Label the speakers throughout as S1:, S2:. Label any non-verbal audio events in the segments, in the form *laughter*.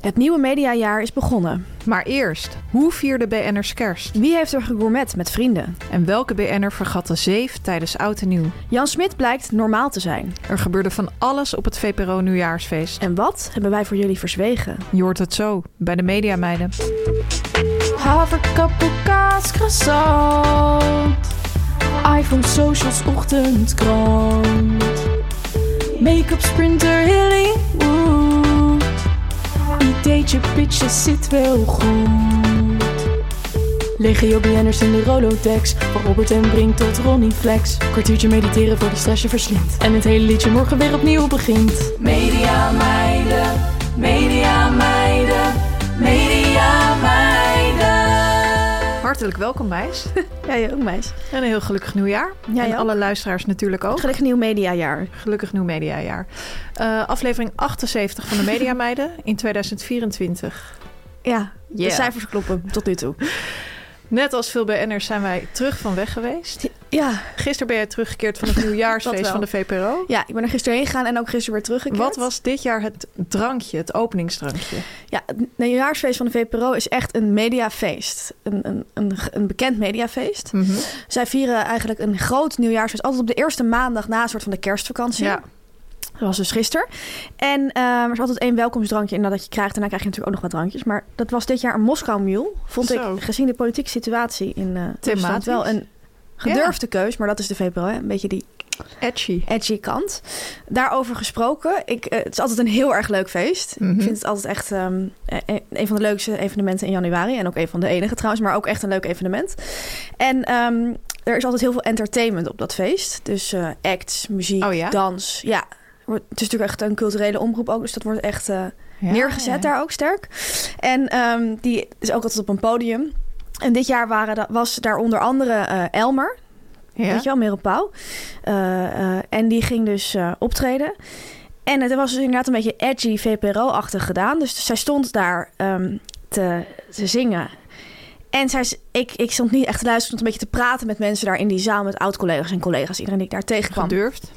S1: Het nieuwe mediajaar is begonnen.
S2: Maar eerst, hoe vierden BN'ers kerst?
S1: Wie heeft er gegourmet met vrienden?
S2: En welke BN'er vergat de zeef tijdens Oud en Nieuw?
S1: Jan Smit blijkt normaal te zijn.
S2: Er gebeurde van alles op het VPRO-nieuwjaarsfeest.
S1: En wat hebben wij voor jullie verzwegen?
S2: Je hoort het zo, bij de Mediameiden.
S3: Haverkappel, kaas, croissant. iPhone, socials, ochtendkrant. Make-up, sprinter, Hollywood. Ideetje, pitches, zit wel goed. Legio BN'ers in de Rolodex. Van Robert en Brink tot Ronnie Flex. Kwartiertje mediteren voor de stress je verslindt. En het hele liedje morgen weer opnieuw begint. Media meiden, media meiden, media meiden.
S2: Hartelijk welkom,
S1: *laughs*
S2: meis.
S1: Jij ook, meis.
S2: En een heel gelukkig nieuwjaar.
S1: Jij
S2: en
S1: ook.
S2: alle luisteraars natuurlijk ook.
S1: Gelukkig nieuw mediajaar.
S2: Gelukkig nieuw mediajaar. Eh, aflevering 78 van de Mediameiden
S1: *laughs*
S2: in 2024.
S1: Ja,
S2: Yeah.
S1: de cijfers kloppen tot nu toe.
S2: Net als veel BN'ers zijn wij terug van weg geweest.
S1: Ja,
S2: Gisteren ben jij teruggekeerd van het
S1: *laughs* Dat
S2: nieuwjaarsfeest
S1: wel.
S2: van de VPRO.
S1: ja ik ben er gisteren heen gegaan en ook gisteren weer teruggekeerd.
S2: Wat was dit jaar het drankje, het openingsdrankje?
S1: Ja, het nieuwjaarsfeest van de VPRO is echt een mediafeest. Een, een, een, een bekend mediafeest. Zij vieren eigenlijk een groot nieuwjaarsfeest. Altijd op de eerste maandag na een soort van de kerstvakantie.
S2: Ja.
S1: Dat was dus gisteren. En ehm, er is altijd één welkomstdrankje en dat je krijgt. Daarna krijg je natuurlijk ook nog wat drankjes. Maar dat was dit jaar een Moskou Mule. Vond
S2: Zo.
S1: ik, gezien de politieke situatie in eh Rusland, wel een gedurfde keus. Maar dat is de VPRO, hè? een beetje die
S2: Edgy.
S1: edgy kant. Daarover gesproken, ik, eh, het is altijd een heel erg leuk feest.
S2: Mhm.
S1: Ik vind het altijd echt ehm, eh, een van de leukste evenementen in januari. En ook een van de enige trouwens, maar ook echt een leuk evenement. En ehm, er is altijd heel veel entertainment op dat feest. Dus eh, acts, muziek,
S2: Oh ja?
S1: dans. Ja, Wordt- het is natuurlijk echt een culturele omroep ook. Dus dat wordt echt eh, neergezet daar ook sterk. En ehm, die is ook altijd op een podium. En dit jaar waren, da- was daar onder andere eh, Elmer.
S2: Ja.
S1: Weet je wel, Merel Pauw. Eh, eh, en die ging dus eh, optreden. En het was dus inderdaad een beetje edgy VPRO-achtig gedaan. Dus zij stond daar ehm, te, te zingen. En zij, s- ik, ik stond niet echt te luisteren. Ik stond een beetje te praten met mensen daar in die zaal. Met oud-collega's en collega's. Iedereen die ik daar tegenkwam.
S2: Gedurfd.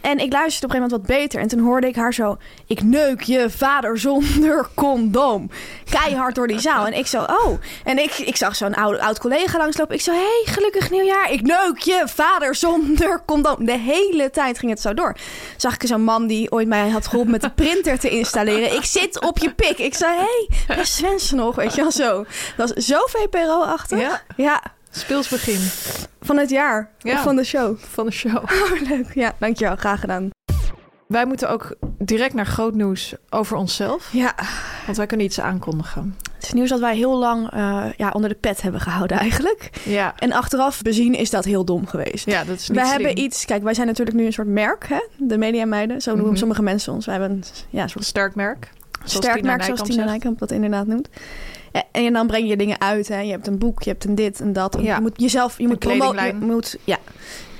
S1: En ik luisterde op een gegeven moment wat beter. En toen hoorde ik haar zo... Ik neuk je vader zonder condoom. Keihard door die zaal. En ik zo, oh. En ik, ik zag zo'n oude, oud collega langslopen. Ik zo, hey, gelukkig nieuwjaar. Ik neuk je vader zonder condoom. De hele tijd ging het zo door. Zag ik zo'n man die ooit mij had geholpen met de printer te installeren. Ik zit op je pik. Ik zei, hey, daar is Svensen nog. Weet je wel, zo. Dat was zo VPRO-achtig.
S2: Ja.
S1: Ja,
S2: Speelsbegin
S1: van het jaar.
S2: Ja.
S1: Van de show. *laughs*
S2: van de show.
S1: Oh, leuk. Ja, dankjewel. Graag gedaan.
S2: Wij moeten ook direct naar groot nieuws over onszelf.
S1: Ja.
S2: Want wij kunnen iets aankondigen.
S1: Het is nieuws dat wij heel lang eh, ja, onder de pet hebben gehouden eigenlijk.
S2: Ja,
S1: En achteraf bezien is dat heel dom geweest.
S2: ja dat is niet
S1: wij
S2: slim.
S1: hebben iets... Kijk, wij zijn natuurlijk nu een soort merk, hè? De mediameiden. Zo noemen
S2: Mhm.
S1: sommige mensen ons. Wij hebben een ja, een soort
S2: Sterk merk. Zoals
S1: sterk
S2: Tina
S1: merk, zoals
S2: Nijkamp
S1: Tina
S2: zegt.
S1: Nijkamp dat inderdaad noemt. Ja, en dan breng je dingen uit, hè? Je hebt een boek, je hebt een dit en dat. En
S2: Ja.
S1: Je moet jezelf... Je moet promoten. Je
S2: kledinglijn.
S1: moet... Ja,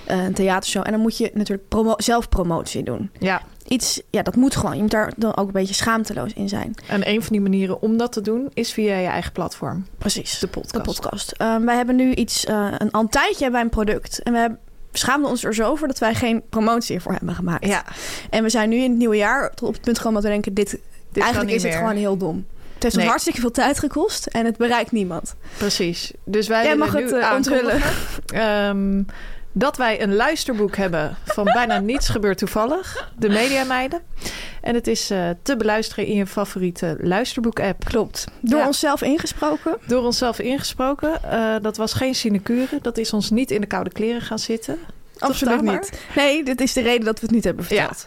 S1: eh, een theatershow. En dan moet je natuurlijk promo zelf promotie doen.
S2: Ja,
S1: Iets... Ja, dat moet gewoon. Je moet daar dan ook een beetje schaamteloos in zijn.
S2: en een van die manieren om dat te doen is via je eigen platform.
S1: Precies.
S2: De podcast.
S1: de podcast. Ehm, wij hebben nu iets, eh, een, al een tijdje hebben wij een product. En we hebben- schaamden ons er zo over dat wij geen promotie ervoor hebben gemaakt.
S2: Ja,
S1: En we zijn nu in het nieuwe jaar tot op het punt gekomen dat we denken, dit,
S2: kan
S1: eigenlijk
S2: niet
S1: is het
S2: meer.
S1: gewoon heel dom. Het heeft
S2: Nee.
S1: ons hartstikke veel tijd gekost en het bereikt niemand.
S2: precies. Dus wij
S1: Jij
S2: willen
S1: mag het,
S2: nu
S1: eh, onthullen.
S2: aankondigen, ehm, dat wij een luisterboek hebben van bijna niets gebeurt toevallig. De Media Meiden. En het is eh, te beluisteren in je favoriete luisterboek-app. Klopt.
S1: *laughs* Door
S2: Ja.
S1: onszelf ingesproken.
S2: Door onszelf ingesproken. Eh, dat was geen sinecure. Dat is ons niet in de koude kleren gaan zitten.
S1: Absoluut
S2: Verstaanbaar?
S1: niet. Nee, dit is de reden dat we het niet hebben verteld.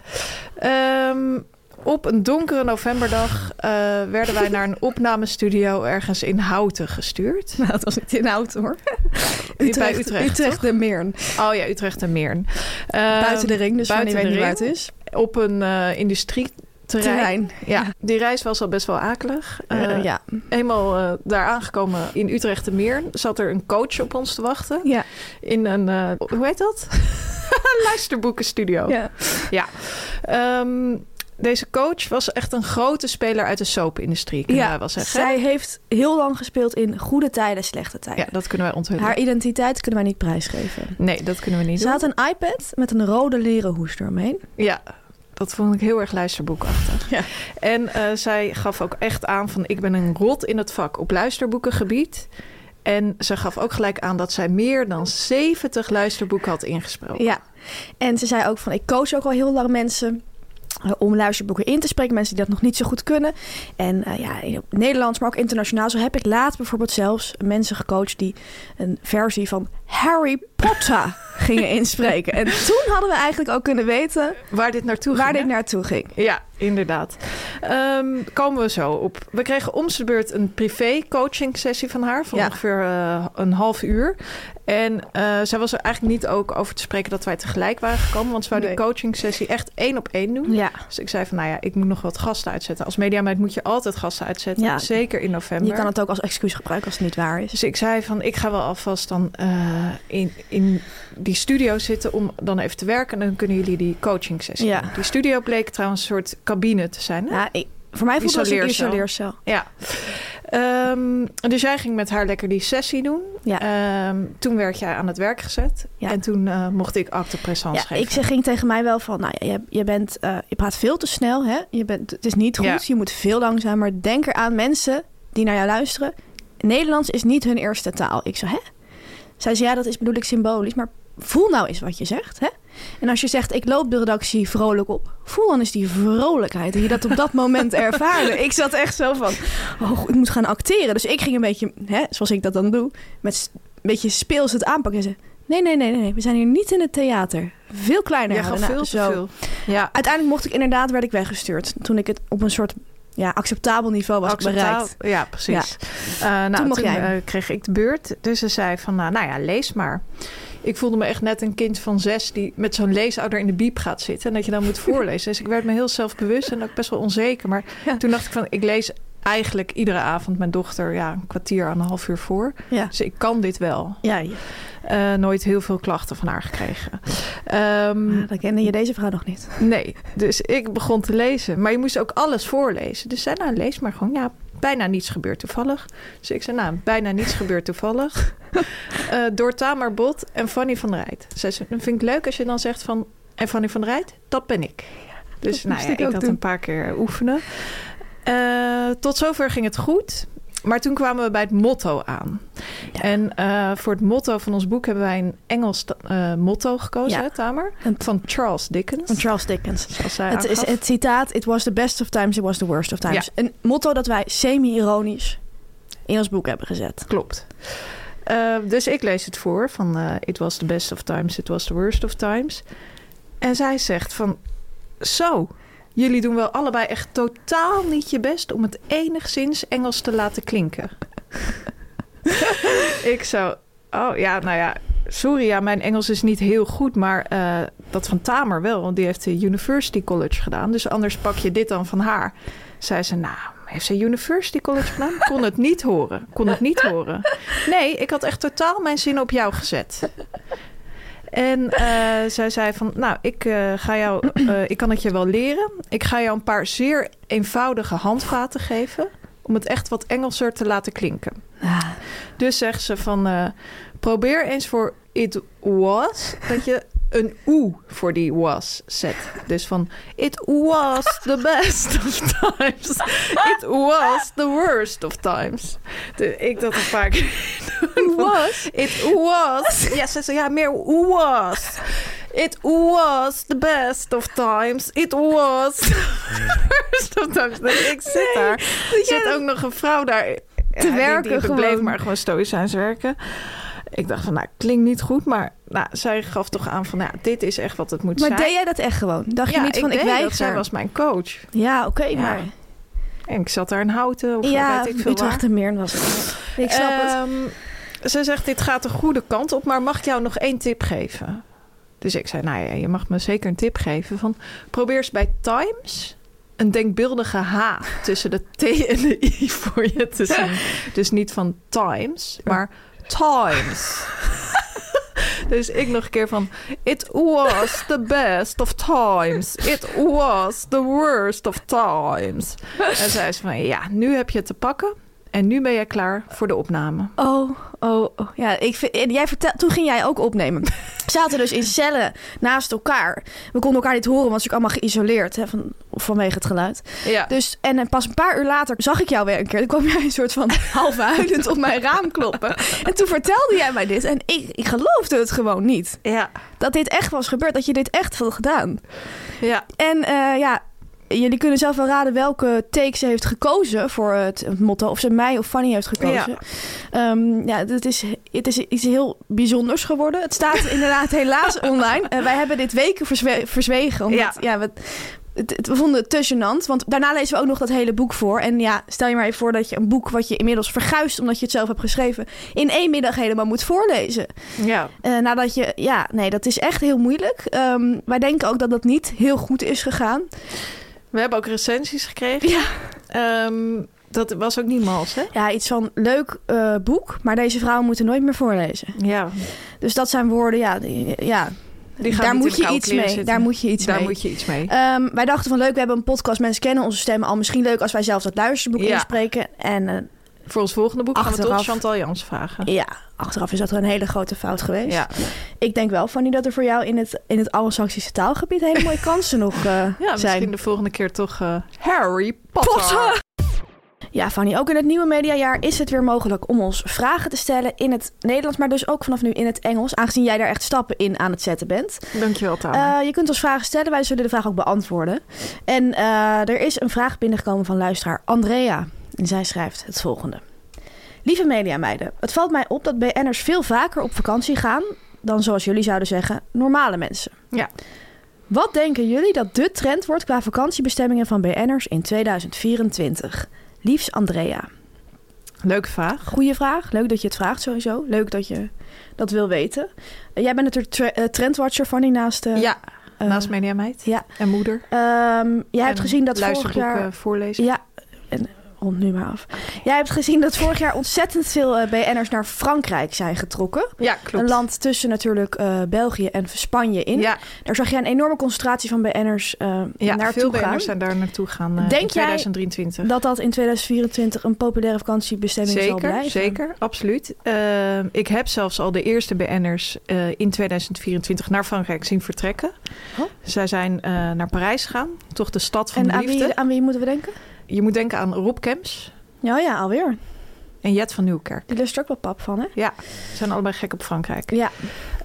S2: Ja. Ehm, op een donkere novemberdag eh, werden wij naar
S1: *laughs*
S2: een opnamestudio ergens in Houten gestuurd.
S1: Nou, dat was niet *laughs* in hout hoor. Utrecht,
S2: Bij Utrecht,
S1: de Meern.
S2: Oh ja, Utrecht en Meern. Ehm,
S1: buiten de ring, dus
S2: buiten
S1: buiten weet
S2: de
S1: niet waar
S2: ring.
S1: het is.
S2: Op een eh, industrieterrein.
S1: Terrein.
S2: Ja, die reis was al best wel akelig.
S1: Eh,
S2: Eh,
S1: ja.
S2: Eenmaal eh, daar aangekomen in Utrecht en Meern zat er een coach op ons te wachten.
S1: Ja.
S2: In een, eh, hoe heet dat? *laughs* Luisterboekenstudio.
S1: ja.
S2: Ehm, deze coach was echt een grote speler uit de soapindustrie, kunnen wij wel zeggen.
S1: zij heeft heel lang gespeeld in goede tijden, slechte
S2: Ja,
S1: tijden.
S2: dat kunnen wij onthullen.
S1: Haar identiteit kunnen wij niet prijsgeven.
S2: Nee, dat kunnen we niet
S1: Ze
S2: doen.
S1: had een iPad met een rode leren hoes eromheen.
S2: Ja, dat vond ik heel erg luisterboekachtig.
S1: Ja.
S2: En eh, zij gaf ook echt aan van ik ben een rot in het vak op luisterboekengebied. En ze gaf ook gelijk aan dat zij meer dan 70 luisterboeken had ingesproken.
S1: Ja. En ze zei ook van, ik coach ook al heel lang mensen eh, om luisterboeken in te spreken. Mensen die dat nog niet zo goed kunnen. En eh, ja, in het Nederlands, maar ook internationaal. Zo heb ik laatst bijvoorbeeld zelfs mensen gecoacht die een versie van Harry
S2: *laughs*
S1: Potter gingen inspreken. En toen hadden we eigenlijk ook kunnen weten
S2: Waar dit naartoe
S1: waar
S2: ging.
S1: dit naartoe ging.
S2: Ja, inderdaad. Ehm, komen we zo op. We kregen om zijn beurt een privé coaching sessie van haar van
S1: Ja.
S2: ongeveer eh, een half uur. En eh, zij was er eigenlijk niet ook over te spreken dat wij tegelijk waren gekomen, want ze wou die
S1: Nee.
S2: coaching sessie echt één op één doen.
S1: Ja.
S2: Dus ik zei van, nou ja, ik moet nog wat gasten uitzetten. Als mediameid moet je altijd gasten uitzetten,
S1: Ja.
S2: zeker in november.
S1: Je kan het ook als excuus gebruiken als het niet waar is.
S2: Dus ik zei van, ik ga wel alvast dan eh, in, in die studio zitten om dan even te werken. En dan kunnen jullie die coaching sessie
S1: Ja.
S2: doen. Die studio bleek trouwens een soort cabine te zijn. Hè?
S1: Ja, Nou, ik, voor mij voelt het als een
S2: Isoleercel.
S1: isoleercel.
S2: Ja. Ehm, dus jij ging met haar lekker die sessie doen.
S1: Ja.
S2: Ehm, toen werd jij aan het werk gezet.
S1: Ja.
S2: En toen eh, mocht ik acte présence
S1: Ja,
S2: geven.
S1: ik zeg- ging tegen mij wel van, nou ja, je, je, bent, eh, je praat veel te snel, hè? Je bent, het is niet goed,
S2: Ja.
S1: je moet veel langzamer. Denk eraan mensen die naar jou luisteren. Nederlands is niet hun eerste taal. Ik zei, hè? Zij zei, ja, dat is bedoel ik symbolisch, maar voel nou eens wat je zegt, hè? En als je zegt, ik loop de redactie vrolijk op, voel dan eens die vrolijkheid die je dat op dat *laughs* moment ervaarde. Ik zat echt zo van, oh, ik moet gaan acteren. Dus ik ging een beetje, hè, zoals ik dat dan doe, met s- een beetje speels het aanpakken. En ze, nee, nee, nee, nee, nee, we zijn hier niet in het theater. Veel kleiner.
S2: jij gaf
S1: houden. Nou,
S2: veel te
S1: zo.
S2: veel. Ja.
S1: Uiteindelijk mocht ik inderdaad, werd ik weggestuurd. Toen ik het op een soort ja, acceptabel niveau was
S2: Acceptabel.
S1: bereikt.
S2: Ja, precies. Eh, nou,
S1: Toen mocht jij.
S2: eh, kreeg ik de beurt. Dus ze zei van, nou, nou ja, lees maar. Ik voelde me echt net een kind van zes die met zo'n leesouder in de biep gaat zitten. En dat je dan
S1: *laughs*
S2: moet voorlezen. Dus ik werd me heel zelfbewust en ook best wel onzeker. Maar
S1: Ja.
S2: toen dacht ik van, ik lees eigenlijk iedere avond mijn dochter ja, een kwartier aan een half uur voor.
S1: Ja.
S2: Dus ik kan dit wel.
S1: Ja, ja.
S2: Eh, nooit heel veel klachten van haar gekregen. Ehm,
S1: Ah, dan kende je deze vrouw nog niet.
S2: nee, dus ik begon te lezen. Maar je moest ook alles voorlezen. Dus zei, nou lees maar gewoon. Ja, bijna niets gebeurt toevallig. Dus ik zei, nou, bijna niets
S1: *laughs*
S2: gebeurt toevallig. Eh, door Tamar Bot en Fanny van der Rijt. Zij zei, dan vind ik leuk als je dan zegt van... En Fanny van der Rijt, dat ben ik. Dus
S1: Dat
S2: nou
S1: moest
S2: ja,
S1: ik
S2: ik,
S1: ook
S2: had
S1: doen.
S2: een paar keer oefenen. Eh, tot zover ging het goed. Maar toen kwamen we bij het motto aan. En eh, voor het motto van ons boek hebben wij een Engels eh, motto gekozen,
S1: Ja.
S2: hè, Tamer?
S1: Een-
S2: Van Charles Dickens.
S1: Van Charles Dickens.
S2: Dus Als zij
S1: Het, is,
S2: aangaf.
S1: het citaat, it was the best of times, it was the worst of times. Een motto dat wij semi-ironisch in ons boek hebben gezet.
S2: Klopt. Eh, dus ik lees het voor van eh, It was the best of times, it was the worst of times. En zij zegt van, zo, jullie doen wel allebei echt totaal niet je best om het enigszins Engels te laten klinken. *laughs* ik zo, oh ja, nou ja, sorry, ja, mijn Engels is niet heel goed, maar eh, dat van Tamer wel, want die heeft de University College gedaan. Dus anders pak je dit dan van haar. Zei ze, nou, heeft ze University College gedaan? Kon het niet horen, kon het niet horen. Nee, ik had echt totaal mijn zin op jou gezet. En eh, zij zei van, nou, ik, eh, ga jou, eh, ik kan het je wel leren. Ik ga jou een paar zeer eenvoudige handvaten geven... om het echt wat Engelser te laten klinken. Dus zegt ze van, eh, probeer eens voor it was... dat je een oe voor die was zet. Dus van, it was the best of times. *laughs* It was the worst of times. Dus ik dat een paar keer doen. was. It was. Ja, ze zei ja, meer was. It was the best of times. It was. Sometimes denk Dus ik, ik zit daar. Er zit ook nog een vrouw daar te
S1: werken
S2: Die, die
S1: gewoon.
S2: bleef maar gewoon stoïcijns werken. Ik dacht van, nou, klinkt niet goed. Maar nou, zij gaf toch aan van, nou, dit is echt wat het moet
S1: Maar
S2: zijn.
S1: deed jij dat echt gewoon? Dacht
S2: ja,
S1: je niet van, ik,
S2: deed dat.
S1: weiger?
S2: Zij was mijn coach.
S1: Ja, oké,
S2: Ja,
S1: maar...
S2: En ik zat daar in houten of
S1: Ja,
S2: weet ik veel waar.
S1: Utrecht en Meern was het. Ik snap het.
S2: Ehm, Ze zegt, dit gaat de goede kant op, maar mag ik jou nog één tip geven? Dus ik zei, nou ja, je mag me zeker een tip geven. Van, probeer eens bij Times een denkbeeldige H tussen de T en de I *laughs* voor je te zien. Dus niet van Times, maar Times. *laughs* Dus ik nog een keer van... It was the best of times. It was the worst of times. En zei ze van... Ja, nu heb je het te pakken. En nu ben jij klaar voor de opname.
S1: Oh, oh, oh. Ja, ik vind, en jij vertel, toen ging jij ook
S2: *laughs*
S1: opnemen. We zaten dus in cellen naast elkaar. We konden elkaar niet horen, want het was natuurlijk allemaal geïsoleerd hè, van, vanwege het geluid.
S2: Ja.
S1: Dus, en eh, pas een paar uur later zag ik jou weer een keer. Dan kwam jij een soort van half huilend op mijn raam kloppen. En toen vertelde jij mij dit. En ik, ik geloofde het gewoon niet.
S2: Ja.
S1: Dat dit echt was gebeurd. Dat je dit echt had gedaan.
S2: Ja.
S1: En eh, ja, jullie kunnen zelf wel raden welke take ze heeft gekozen voor het motto. Of ze mij of Fanny heeft gekozen. Ja, ja het, is, het is iets heel bijzonders geworden. Het staat *laughs* inderdaad helaas online. Eh, wij hebben dit weken verzwe- verzwegen. Omdat, ja.
S2: Ja.
S1: we, het, het- we vonden het te gênant. Want daarna lezen we ook nog dat hele boek voor. En ja, stel je maar even voor dat je een boek wat je inmiddels verguist... omdat je het zelf hebt geschreven, in één middag helemaal moet voorlezen.
S2: Ja.
S1: Eh, nadat je, ja, nee, dat is echt heel moeilijk. Ehm, wij denken ook dat dat niet heel goed is gegaan.
S2: We hebben ook recensies gekregen.
S1: Ja.
S2: Ehm, dat was ook niet mals, hè?
S1: Ja, iets van leuk eh, boek, maar deze vrouwen moeten nooit meer voorlezen.
S2: Ja.
S1: Dus dat zijn woorden, ja, die- ja.
S2: Die gaan
S1: daar
S2: niet
S1: moet
S2: in
S1: je
S2: koude
S1: iets mee.
S2: kleren zitten.
S1: Daar moet je iets
S2: Daar
S1: mee.
S2: moet je iets mee.
S1: Ehm, wij dachten van leuk, we hebben een podcast, mensen kennen onze stemmen al. Misschien leuk als wij zelf dat luisterboek
S2: Ja.
S1: inspreken. En eh,
S2: voor ons volgende boek gaan we
S1: achteraf.
S2: toch Chantal Jans vragen.
S1: ja, achteraf is dat wel een hele grote fout geweest.
S2: Ja.
S1: Ik denk wel, Fanny, dat er voor jou in het, in het Anglo-Saxische taalgebied hele mooie *laughs* kansen nog eh,
S2: Ja, misschien
S1: zijn.
S2: de volgende keer toch eh, Harry Potter.
S1: Potter! Ja, Fanny, ook in het nieuwe mediajaar is het weer mogelijk om ons vragen te stellen in het Nederlands, maar dus ook vanaf nu in het Engels, aangezien jij daar echt stappen in aan het zetten bent.
S2: Dankjewel, Tamer.
S1: Eh, je kunt ons vragen stellen, wij zullen de vraag ook beantwoorden. En eh, er is een vraag binnengekomen van luisteraar Andrea. En zij schrijft het volgende. Lieve mediameiden, het valt mij op dat BN'ers veel vaker op vakantie gaan dan, zoals jullie zouden zeggen, normale mensen.
S2: Ja.
S1: Wat denken jullie dat de trend wordt qua vakantiebestemmingen van BN'ers in 2024? Liefs Andrea.
S2: Leuke vraag.
S1: Goeie vraag. Leuk dat je het vraagt sowieso. Leuk dat je dat wil weten. Eh, jij bent natuurlijk tre- eh, trendwatcher, Fanny, naast... eh,
S2: ja,
S1: eh,
S2: naast Media Meid.
S1: ja.
S2: En moeder.
S1: Ehm, jij hebt
S2: En
S1: gezien dat vorig
S2: luisterboeken eh,
S1: jaar.
S2: voorlezen.
S1: Ja, en rond nu maar af. Jij hebt gezien dat vorig jaar ontzettend veel eh, BN'ers naar Frankrijk zijn getrokken.
S2: Ja, klopt.
S1: Een land tussen natuurlijk eh, België en Spanje in.
S2: Ja,
S1: Daar zag je een enorme concentratie van BN'ers eh
S2: ja veel
S1: naartoe gaan.
S2: BN'ers zijn daar naartoe gaan eh,
S1: Denk
S2: in
S1: jij
S2: 2023.
S1: Dat dat in 2024 een populaire vakantiebestemming zal
S2: zeker,
S1: blijven.
S2: zeker, absoluut. Eh, ik heb zelfs al de eerste BN'ers eh, in 2024 naar Frankrijk zien vertrekken.
S1: Oh.
S2: Zij zijn eh, naar Parijs gegaan, toch de stad van
S1: En
S2: de
S1: aan
S2: liefde.
S1: wie, aan wie moeten we denken?
S2: Je moet denken aan Rob Kemps
S1: Ja, ja, alweer.
S2: en Jet van Nieuwkerk.
S1: Die lust er ook wel pap van, hè?
S2: Ja, ze zijn allebei gek op Frankrijk.
S1: Ja,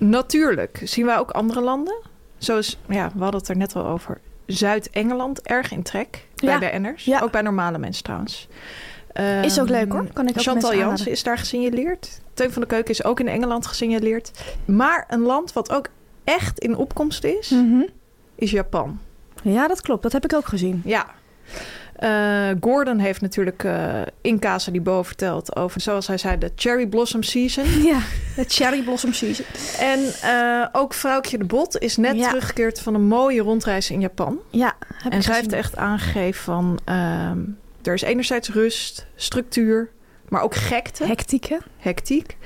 S2: Natuurlijk zien wij ook andere landen. Zoals, ja, we hadden het er net al over. Zuid-Engeland, erg in trek.
S1: Ja.
S2: Bij BN'ers.
S1: Ja.
S2: Ook bij normale mensen trouwens.
S1: is ook
S2: Ehm,
S1: leuk hoor. Kan ik ook
S2: Chantal
S1: mensen
S2: Jans
S1: aanraden.
S2: is daar gesignaleerd. Teun van de Keuken is ook in Engeland gesignaleerd. Maar een land wat ook echt in opkomst is,
S1: Mhm.
S2: is Japan.
S1: Ja, dat klopt. Dat heb ik ook gezien.
S2: Ja. Eh, Gordon heeft natuurlijk eh, in Casa die Bo verteld over, zoals hij zei, de cherry blossom season.
S1: *laughs* Ja, de cherry blossom season.
S2: En eh, ook Vrouwtje de Bot is net
S1: Ja.
S2: teruggekeerd van een mooie rondreis in Japan.
S1: Ja, heb
S2: En
S1: ik gezien.
S2: zij heeft echt aangegeven van... ehm, er is enerzijds rust, structuur, maar ook gekte,
S1: hectieke.
S2: hectiek.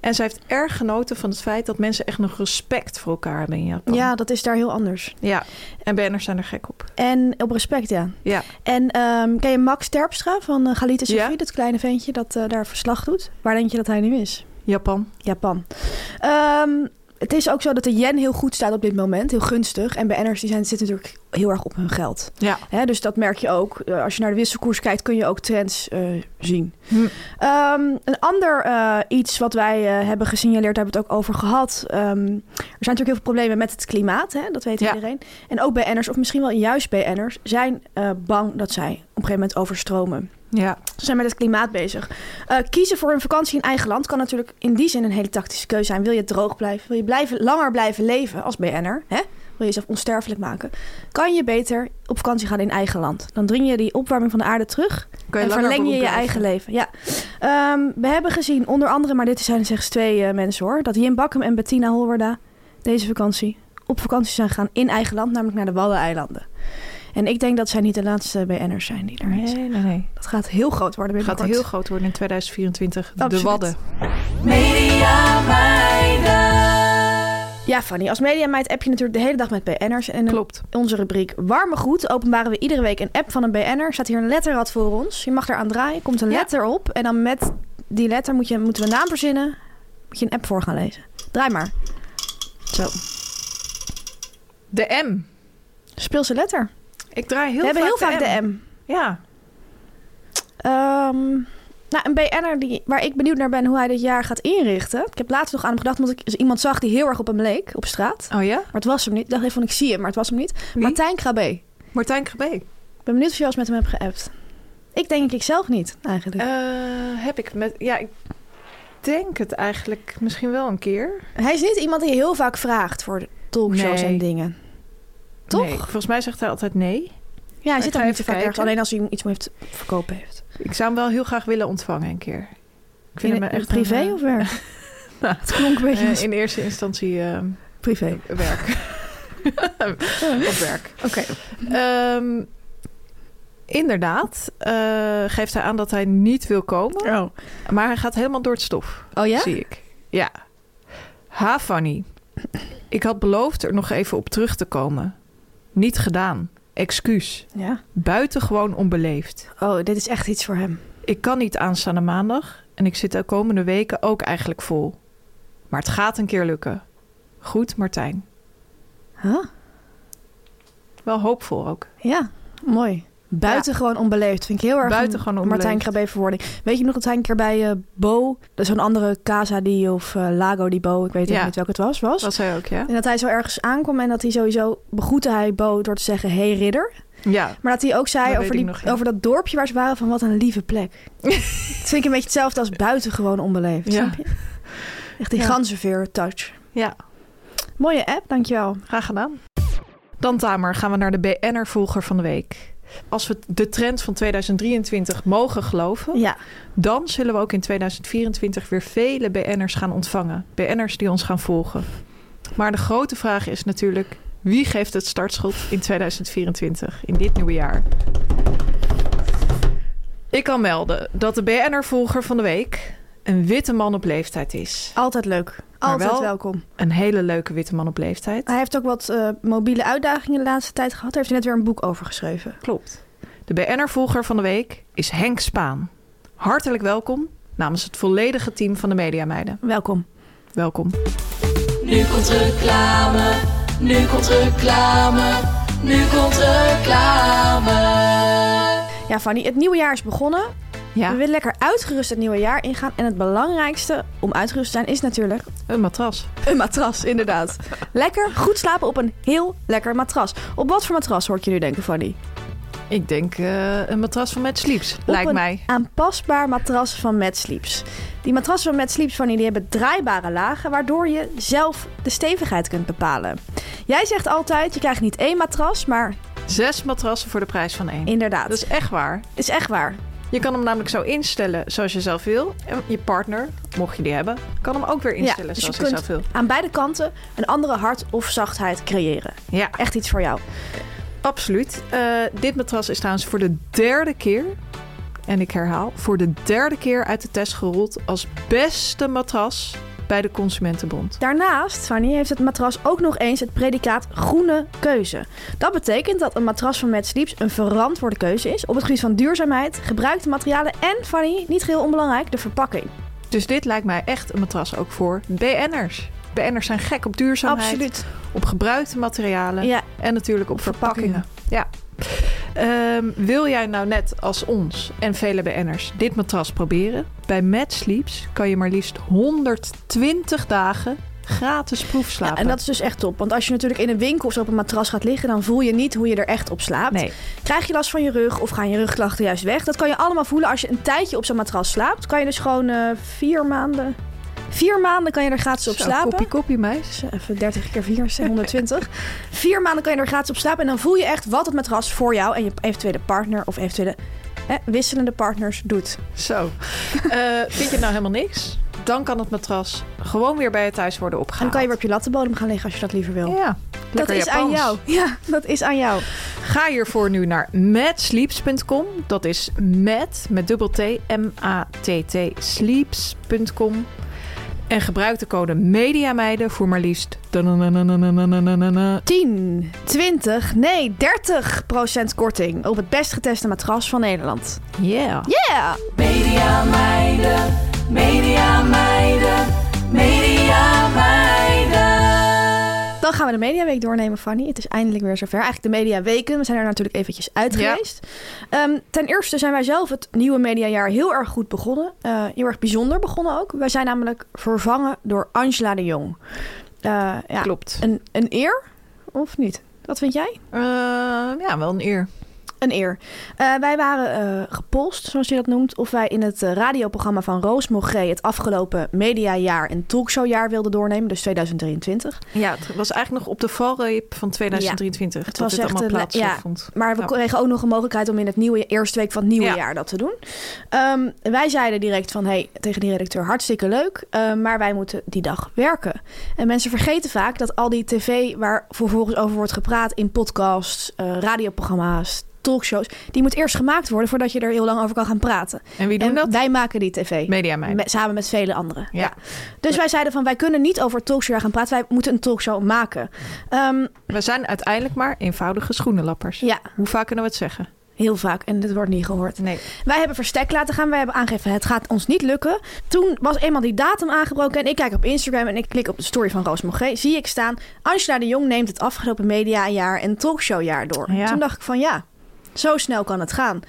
S2: En zij heeft erg genoten van het feit dat mensen echt nog respect voor elkaar hebben in Japan.
S1: Ja, dat is daar heel anders.
S2: ja. En BN'ers zijn er gek op.
S1: En op respect, ja.
S2: Ja.
S1: En ehm, ken je Max Terpstra van eh, Galit en Sophie?
S2: Ja.
S1: Dat kleine ventje dat eh, daar verslag doet. Waar denk je dat hij nu is?
S2: Japan.
S1: Japan. Ehm, het is ook zo dat de yen heel goed staat op dit moment. Heel gunstig. En BN'ers die zijn, zitten natuurlijk heel erg op hun geld.
S2: Ja.
S1: Hè, dus dat merk je ook. Eh, als je naar de wisselkoers kijkt, kun je ook trends eh, zien.
S2: Hm.
S1: Ehm, een ander eh, iets wat wij eh, hebben gesignaleerd, daar hebben we het ook over gehad. Ehm, er zijn natuurlijk heel veel problemen met het klimaat, hè? dat weet
S2: Ja.
S1: iedereen. En ook BN'ers, of misschien wel juist BN'ers, zijn eh, bang dat zij op een gegeven moment overstromen.
S2: Ja.
S1: Ze zijn met het klimaat bezig. Eh, kiezen voor een vakantie in eigen land kan natuurlijk in die zin een hele tactische keuze zijn. Wil je droog blijven? Wil je blijven, langer blijven leven als BN'er? Hè? Wil je jezelf onsterfelijk maken? Kan je beter op vakantie gaan in eigen land? Dan dring je die opwarming van de aarde terug
S2: Kun
S1: en
S2: langer
S1: verleng je je
S2: beroep
S1: eigen leven. Ja. Ehm, we hebben gezien, onder andere, maar dit zijn slechts twee eh, mensen hoor, dat Jim Bakkum en Bettina Holwerda deze vakantie op vakantie zijn gegaan in eigen land, namelijk naar de Waddeneilanden. En ik denk dat zij niet de laatste BN'ers zijn die daarheen
S2: blijven.
S1: zijn.
S2: Nee, nee, nee.
S1: Dat gaat heel groot worden
S2: Het gaat
S1: binnenkort.
S2: heel groot worden in 2024.
S1: Absoluut.
S2: De Wadden.
S1: Ja, Fanny, als mediameid app je natuurlijk de hele dag met BN'ers. En in
S2: Klopt.
S1: onze rubriek Warme Goed openbaren we iedere week een app van een BN'er. Staat hier een letterrad voor ons. Je mag eraan draaien, komt een
S2: Ja.
S1: letter op. En dan met die letter moet je, moeten we een naam verzinnen. Moet je een app voor gaan lezen. Draai maar. Zo.
S2: De M.
S1: Speelse letter.
S2: Ik draai heel
S1: we hebben heel
S2: vaak
S1: vaak de M.
S2: Ja.
S1: Ehm, nou, een BN'er die, waar ik benieuwd naar ben hoe hij dit jaar gaat inrichten. Ik heb laatst nog aan hem gedacht, omdat ik dus iemand zag die heel erg op hem leek op straat.
S2: Oh ja?
S1: Maar het was hem niet. Ik dacht even van, ik zie hem, maar het was hem niet.
S2: Wie?
S1: Martijn Krabbe.
S2: Martijn Krabbe.
S1: Ik ben benieuwd of je als met hem hebt geappt. Ik denk ik zelf niet, eigenlijk.
S2: Eh, heb ik met... Ja, ik denk het eigenlijk misschien wel een keer.
S1: hij is niet iemand die heel vaak vraagt voor de talkshows
S2: Nee.
S1: en dingen. Toch?
S2: Nee, volgens mij zegt hij altijd nee.
S1: Ja, hij zit
S2: ga
S1: er niet
S2: even
S1: te vaak ergens.
S2: kijken.
S1: Alleen als hij iets heeft verkopen heeft.
S2: Ik zou hem wel heel graag willen ontvangen een keer. Ik vind hem
S1: In-
S2: echt
S1: privé
S2: een, eh,
S1: of werk?
S2: *laughs* Nou,
S1: *laughs* het klonk een beetje
S2: eh,
S1: als
S2: in eerste instantie eh,
S1: privé.
S2: *laughs* werk.
S1: *laughs*
S2: Op werk.
S1: Oké.
S2: Ehm, inderdaad, eh, geeft hij aan dat hij niet wil komen.
S1: Oh.
S2: Maar hij gaat helemaal door het stof,
S1: Oh ja?
S2: zie ik. Ja. Ha, Fanny. Ik had beloofd er nog even op terug te komen. Niet gedaan. Excuus.
S1: Ja.
S2: Buitengewoon onbeleefd.
S1: Oh, dit is echt iets voor hem.
S2: Ik kan niet aanstaande maandag en ik zit de komende weken ook eigenlijk vol. Maar het gaat een keer lukken. Goed, Martijn.
S1: Huh?
S2: Wel hoopvol ook.
S1: Ja, mooi. Buitengewoon onbeleefd. Vind ik heel erg een
S2: Buitengewoon onbeleefd.
S1: Martijn Krabbe verwoording. Weet je nog dat hij een keer bij eh, Bo... dat is Zo'n andere Casa di of eh, Lago di Bo. Ik weet
S2: Ja.
S1: ook niet welke het was. was.
S2: Was hij ook, ja?
S1: En dat hij zo ergens aankwam en dat hij sowieso begroette hij Bo door te zeggen: Hey ridder.
S2: Ja.
S1: Maar dat hij ook zei
S2: Dat
S1: over,
S2: weet
S1: die,
S2: ik nog, ja.
S1: over dat dorpje waar ze waren: van wat een lieve
S2: *laughs*
S1: plek. dat vind ik een beetje hetzelfde als buitengewoon onbeleefd.
S2: Ja.
S1: Snap je? Echt die
S2: Ja.
S1: ganzenveer touch.
S2: ja.
S1: Mooie app, dankjewel.
S2: Graag gedaan. Dan Tamer, gaan we naar de BN'er-volger van de week. Als we de trend van 2023 mogen geloven...
S1: Ja,
S2: dan zullen we ook in 2024 weer vele BN'ers gaan ontvangen. BN'ers die ons gaan volgen. Maar de grote vraag is natuurlijk... wie geeft het startschot in 2024, in dit nieuwe jaar? Ik kan melden dat de BN'er-volger van de week... een witte man op leeftijd is.
S1: altijd leuk.
S2: Maar
S1: Altijd
S2: wel-
S1: welkom.
S2: Een hele leuke witte man op leeftijd.
S1: Hij heeft ook wat eh, mobiele uitdagingen de laatste tijd gehad. Daar heeft hij net weer een boek over geschreven.
S2: Klopt. De BN'er-volger van de week is Henk Spaan. Hartelijk welkom namens het volledige team van de Media Meiden.
S1: Welkom.
S2: Welkom.
S3: Nu komt reclame, nu komt reclame, nu komt reclame.
S1: Ja, Fanny, het nieuwe jaar is begonnen. We
S2: Ja,
S1: willen lekker uitgerust het nieuwe jaar ingaan. En het belangrijkste om uitgerust te zijn is natuurlijk
S2: een matras.
S1: Een matras,
S2: *laughs*
S1: inderdaad. Lekker, goed slapen op een heel lekker matras. Op wat voor matras hoor ik je nu denken, Fanny?
S2: Ik denk eh, een matras van Mad Sleeps,
S1: op
S2: lijkt
S1: een
S2: mij.
S1: aanpasbaar matras van Mad Sleeps. Die matrassen van Mad Sleeps, Fanny, die hebben draaibare lagen... waardoor je zelf de stevigheid kunt bepalen. Jij zegt altijd, je krijgt niet één matras, maar
S2: Zes matrassen voor de prijs van één.
S1: inderdaad.
S2: Dat is echt waar.
S1: is echt waar.
S2: Je kan hem namelijk zo instellen zoals je zelf wil. En je partner, mocht je die hebben, kan hem ook weer instellen
S1: dus je
S2: zoals
S1: kunt-
S2: hij zelf wil.
S1: Aan beide kanten een andere hart of zachtheid creëren.
S2: Ja,
S1: Echt iets voor jou.
S2: Absoluut. Eh, dit matras is trouwens voor de derde keer, en ik herhaal, voor de derde keer uit de test gerold als beste matras bij de Consumentenbond.
S1: Daarnaast, Fanny, heeft het matras ook nog eens het predicaat groene keuze. Dat betekent dat een matras van Mad Sleeps een verantwoorde keuze is op het gebied van duurzaamheid, gebruikte materialen en, Fanny, niet geheel onbelangrijk, de verpakking.
S2: Dus dit lijkt mij echt een matras ook voor BN'ers. BN'ers zijn gek op duurzaamheid.
S1: Absoluut.
S2: Op gebruikte materialen.
S1: Ja.
S2: En natuurlijk op verpakkingen. Ja. Ehm, wil jij nou net als ons en vele BN'ers dit matras proberen? Bij Mad Sleeps kan je maar liefst 120 dagen gratis proefslapen.
S1: Ja, en dat is dus echt top. Want als je natuurlijk in een winkel of zo op een matras gaat liggen, dan voel je niet hoe je er echt op slaapt.
S2: Nee.
S1: Krijg je last van je rug of gaan je rugklachten juist weg? Dat kan je allemaal voelen als je een tijdje op zo'n matras slaapt. Kan je dus gewoon eh, vier maanden. Vier maanden kan je er gratis op
S2: Zo,
S1: slapen.
S2: Koppie, koppie, meis.
S1: Dus Even 30 keer 4 is 120. Vier maanden kan je er gratis op slapen. En dan voel je echt wat het matras voor jou en je eventuele partner of eventuele eh, wisselende partners doet.
S2: Zo. *laughs* Eh, vind je nou helemaal niks? Dan kan het matras gewoon weer bij je thuis worden
S1: En
S2: opgehaald.
S1: dan kan je weer op je lattenbodem gaan liggen als je dat liever wil.
S2: Ja,
S1: dat
S2: lekker
S1: is aan
S2: Japans.
S1: jou. Ja, dat is aan jou.
S2: Ga hiervoor nu naar matsleeps.com. Dat is met, met dubbel T, M-A-T-T, sleeps.com. En gebruik de code MEDIAMEIDEN voor maar liefst...
S1: 10, 20, nee, 30 korting op het best geteste matras van Nederland.
S2: Yeah.
S1: Yeah!
S3: Media meiden, media meiden, media meiden.
S1: Dan gaan we de Mediaweek doornemen, Fanny. Het is eindelijk weer zover. Eigenlijk de Mediaweken. We zijn er natuurlijk eventjes uit
S2: Ja.
S1: geweest. Ehm, ten eerste zijn wij zelf het nieuwe mediajaar heel erg goed begonnen. Eh, heel erg bijzonder begonnen ook. Wij zijn namelijk vervangen door Angela de Jong. Eh, ja,
S2: Klopt.
S1: Een, een eer of niet? Wat vind jij?
S2: Eh, ja, wel een eer.
S1: Een eer. Eh, wij waren eh, gepolst, zoals je dat noemt, of wij in het eh, radioprogramma van Roos Mogré het afgelopen mediajaar en talkshowjaar wilden doornemen, dus 2023.
S2: Ja, het was eigenlijk nog op de valreep van 2023.
S1: Het
S2: dat
S1: was
S2: dit
S1: echt
S2: allemaal
S1: een- ja,
S2: plaatsvond.
S1: Maar we
S2: Ja.
S1: kregen ook nog een mogelijkheid om in het nieuwe eerste week van het nieuwe
S2: Ja.
S1: jaar dat te doen. Ehm, wij zeiden direct van, hey, tegen die redacteur, hartstikke leuk, eh, maar wij moeten die dag werken. En mensen vergeten vaak dat al die tv waar vervolgens over wordt gepraat in podcasts, eh, radioprogramma's, talkshows, die moet eerst gemaakt worden voordat je er heel lang over kan gaan praten.
S2: En wie doen
S1: en
S2: dat?
S1: wij maken die tv.
S2: Mediameiden.
S1: Met- samen met vele anderen.
S2: Ja.
S1: Dus wij zeiden van wij kunnen niet over talkshow gaan praten. Wij moeten een talkshow maken. Ehm,
S2: We zijn uiteindelijk maar eenvoudige schoenenlappers.
S1: ja,
S2: Hoe vaak kunnen we het zeggen?
S1: heel vaak. En dit wordt niet gehoord.
S2: Nee.
S1: Wij hebben verstek laten gaan. Wij hebben aangegeven het gaat ons niet lukken. Toen was eenmaal die datum aangebroken. En ik kijk op Instagram en ik klik op de story van Roos Mogré. Zie ik staan. Angela de Jong neemt het afgelopen mediajaar en talkshowjaar door.
S2: Ja.
S1: Toen dacht ik van ja, zo snel kan het gaan.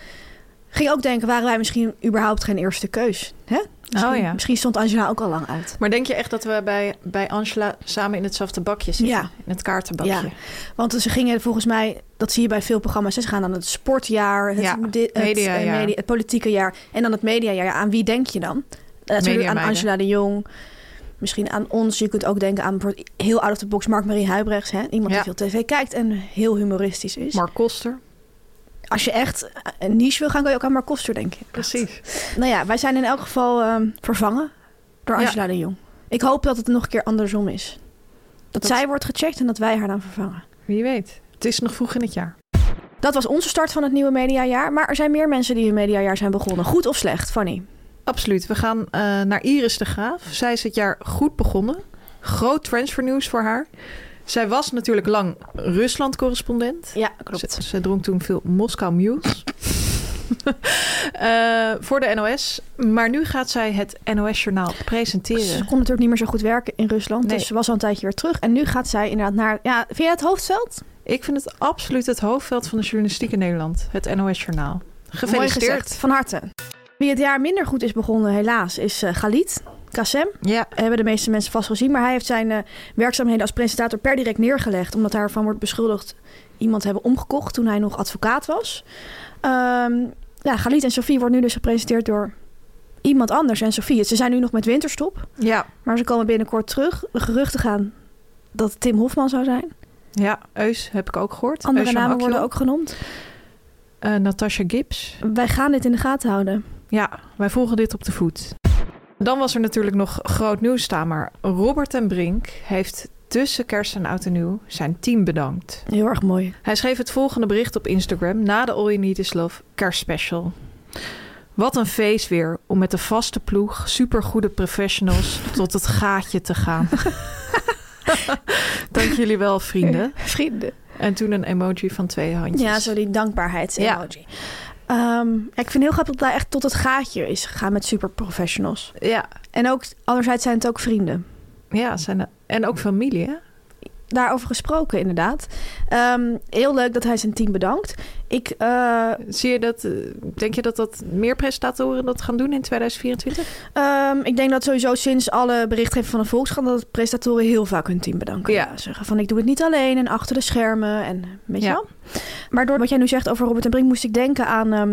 S1: Ging ook denken, waren wij misschien überhaupt geen eerste keus? Hè? Misschien,
S2: Oh, ja.
S1: misschien stond Angela ook al lang uit.
S2: Maar denk je echt dat we bij, bij Angela samen in hetzelfde bakje zitten?
S1: Ja.
S2: In het kaartenbakje?
S1: Ja. Want ze gingen volgens mij, dat zie je bij veel programma's, hè, ze gaan dan het sportjaar, het,
S2: Ja,
S1: di- het, eh,
S2: mediajaar.
S1: media- het politieke jaar en dan het mediajaar. Ja, aan wie denk je dan? Eh, Natuurlijk aan
S2: Mediameiden.
S1: Angela de Jong, misschien aan ons. Je kunt ook denken aan bijvoorbeeld heel out of the box Mark-Marie Huibrechts. Hè? Iemand
S2: Ja.
S1: die veel tv kijkt en heel humoristisch is.
S2: Mark Koster.
S1: Als je echt een niche wil gaan, kan je ook aan Mark Koster denken.
S2: Precies.
S1: Nou ja, wij zijn in elk geval ehm, vervangen door
S2: Ja.
S1: Angela de Jong. Ik hoop dat het nog een keer andersom is. Dat,
S2: Dat-
S1: zij wordt gecheckt en dat wij haar dan vervangen.
S2: Wie weet. Het is nog vroeg in het jaar.
S1: Dat was onze start van het nieuwe mediajaar. Maar er zijn meer mensen die hun mediajaar zijn begonnen. Goed of slecht, Fanny?
S2: Absoluut. We gaan eh, naar Iris de Graaf. Zij is het jaar goed begonnen. Groot transfernieuws voor haar. Zij was natuurlijk lang Rusland-correspondent.
S1: Ja,
S2: Ze, ze dronk toen veel Moskou Mules. *laughs* Eh, voor de NOS. Maar nu gaat zij het NOS-journaal
S1: Ze kon
S2: presenteren.
S1: natuurlijk niet meer zo goed werken in Rusland.
S2: Nee.
S1: Dus ze was al een tijdje weer terug. En nu gaat zij inderdaad naar... Ja, vind jij het hoofdveld?
S2: Ik vind het absoluut het hoofdveld van de journalistiek in Nederland. Het NOS-journaal.
S1: Mooi
S2: Gefeliciteerd.
S1: gezegd. Van harte. Wie het jaar minder goed is begonnen, helaas, is eh Galit. Kassem.
S2: Ja,
S1: Hebben de meeste mensen vast gezien. Maar hij heeft zijn eh, werkzaamheden als presentator per direct neergelegd. Omdat daarvan wordt beschuldigd iemand te hebben omgekocht toen hij nog advocaat was. Ehm ja, Galit en Sophie wordt nu dus gepresenteerd door iemand anders. En Sophie, ze zijn nu nog met winterstop.
S2: ja,
S1: Maar ze komen binnenkort terug. De geruchten gaan dat het Tim Hofman zou zijn.
S2: ja. Eus heb ik ook gehoord.
S1: Andere
S2: Eus van
S1: namen
S2: Akkiel.
S1: worden ook genoemd.
S2: Eh, Natasha Gibbs.
S1: Wij gaan dit in de gaten houden.
S2: Ja, wij volgen dit op de voet. Dan was er natuurlijk nog groot nieuws staan, maar Robert en Brink heeft tussen kerst en oud en nieuw zijn team bedankt.
S1: Heel erg mooi.
S2: Hij schreef het volgende bericht op Instagram na de All You Need Is Love kerstspecial. Wat een feest weer om met de vaste ploeg supergoede
S1: *laughs*
S2: professionals tot het gaatje te gaan. Dank jullie wel, vrienden.
S1: Vrienden.
S2: En toen een emoji van twee handjes.
S1: Ja, zo die dankbaarheidsemoji. Ehm, ik vind het heel grappig dat hij echt tot het gaatje is gegaan met superprofessionals.
S2: ja,
S1: En ook, anderzijds zijn het ook vrienden.
S2: ja, zijn En ook familie, hè?
S1: Daarover gesproken, inderdaad. Ehm, heel leuk dat hij zijn team bedankt. Ik, eh,
S2: Zie je dat, eh, denk je dat, dat meer presentatoren dat gaan doen in 2024?
S1: ehm, ik denk dat sowieso sinds alle berichtgeving van de Volkskrant... dat presentatoren heel vaak hun team bedanken.
S2: Ja.
S1: Zeggen van, ik doe het niet alleen en achter de schermen en weet je
S2: Ja.
S1: wel. Maar door wat jij nu zegt over Robert en Brink... moest ik denken aan ehm,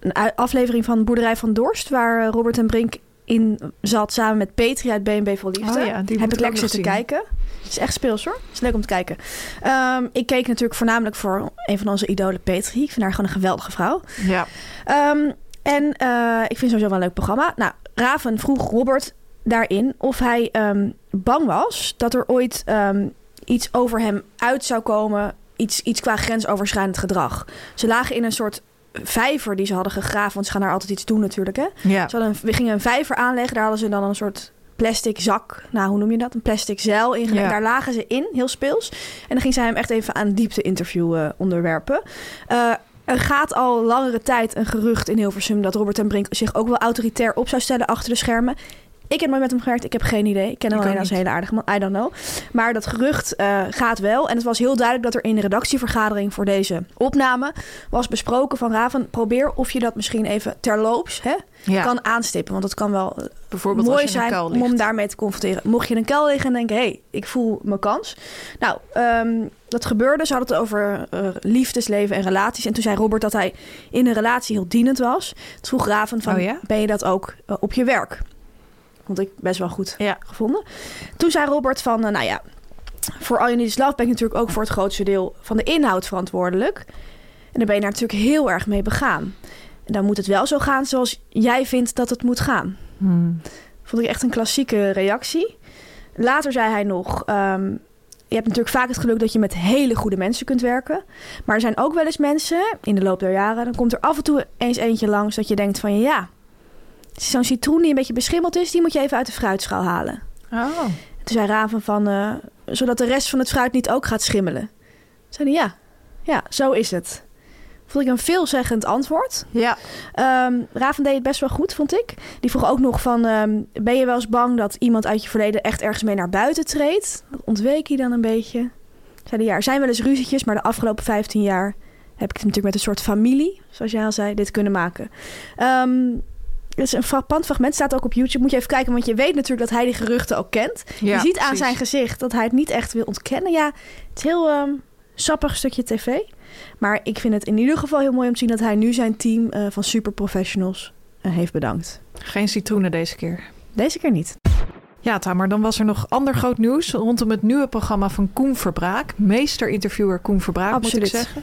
S1: een u- aflevering van Boerderij van Dorst... waar eh, Robert en Brink in zat samen met Petri uit BNB Vol Liefde.
S2: Oh ja, die
S1: heb
S2: moet
S1: ik
S2: ook
S1: lekker zitten
S2: nog zien.
S1: kijken. Het is echt speels hoor. Het is leuk om te kijken. Ehm, ik keek natuurlijk voornamelijk voor een van onze idolen, Petri. Ik vind haar gewoon een geweldige vrouw.
S2: Ja.
S1: Ehm, en eh, ik vind sowieso wel een leuk programma. Nou, Raven vroeg Robert daarin of hij ehm, bang was dat er ooit ehm, iets over hem uit zou komen. Iets, iets qua grensoverschrijdend gedrag. Ze lagen in een soort vijver die ze hadden gegraven. Want ze gaan daar altijd iets doen natuurlijk. Hè?
S2: ja.
S1: Ze hadden een- we gingen een vijver aanleggen. Daar hadden ze dan een soort plastic zak. Nou, hoe noem je dat? Een plastic zeil in.
S2: Ja.
S1: Daar lagen ze in, heel speels. En dan ging zij hem echt even aan een diepte-interview eh, onderwerpen. Eh, er gaat al langere tijd een gerucht in Hilversum... dat Robert en Brink zich ook wel autoritair op zou stellen achter de schermen. Ik heb nooit met hem gewerkt. Ik heb geen idee. Ik ken hem
S2: Ik
S1: alleen
S2: ook
S1: als een
S2: niet.
S1: hele aardige man. I don't know. Maar dat gerucht eh, gaat wel. En het was heel duidelijk dat er in de redactievergadering voor deze opname... was besproken van Raven... probeer of je dat misschien even terloops... Hè,
S2: Ja.
S1: kan aanstippen. Want het kan wel eh,
S2: Bijvoorbeeld
S1: mooi
S2: als je in een
S1: zijn
S2: kuil
S1: om
S2: ligt.
S1: hem daarmee te confronteren. Mocht je in een kuil liggen en denken, hé, hey, ik voel mijn kans. Nou, ehm, dat gebeurde. Ze hadden het over eh, liefdesleven en relaties. En toen zei Robert dat hij in een relatie heel dienend was. Toen vroeg Raven van,
S2: Oh ja?
S1: ben je dat ook eh, op je werk? Vond ik best wel goed
S2: Ja.
S1: gevonden. Toen zei Robert van, eh, nou ja, voor All You Need Is Love ben ik natuurlijk ook voor het grootste deel van de inhoud verantwoordelijk. En daar ben je daar natuurlijk heel erg mee begaan. En dan moet het wel zo gaan zoals jij vindt dat het moet gaan.
S2: Hmm.
S1: Vond ik echt een klassieke reactie. Later zei hij nog: ehm, Je hebt natuurlijk vaak het geluk dat je met hele goede mensen kunt werken. Maar er zijn ook wel eens mensen in de loop der jaren. Dan komt er af en toe eens eentje langs dat je denkt: van ja, zo'n citroen die een beetje beschimmeld is, die moet je even uit de fruitschaal halen.
S2: Oh.
S1: Toen zei Raven van, eh, zodat de rest van het fruit niet ook gaat schimmelen. Zei hij, ja, ja, zo is het. Vond ik een veelzeggend antwoord.
S2: Ja.
S1: Ehm, Raven deed het best wel goed, vond ik. Die vroeg ook nog van, ehm, ben je wel eens bang dat iemand uit je verleden echt ergens mee naar buiten treedt? Dat ontweek hij dan een beetje. Zei hij, ja, er zijn wel eens ruzietjes, maar de afgelopen 15 jaar heb ik het natuurlijk met een soort familie, zoals jij al zei, dit kunnen maken. Ehm het is een frappant fragment, staat ook op YouTube. Moet je even kijken, want je weet natuurlijk dat hij die geruchten ook kent
S2: Ja,
S1: je ziet aan
S2: precies.
S1: zijn gezicht dat hij het niet echt wil ontkennen. Ja, het is heel ehm, sappig stukje tv. Maar ik vind het in ieder geval heel mooi om te zien dat hij nu zijn team eh, van superprofessionals eh, heeft bedankt.
S2: Geen citroenen deze keer.
S1: Deze keer niet.
S2: Ja, Tamer, dan was er nog ander groot nieuws rondom het nieuwe programma van Koen Verbraak. Meester-interviewer Koen Verbraak,
S1: Absoluut.
S2: moet ik zeggen.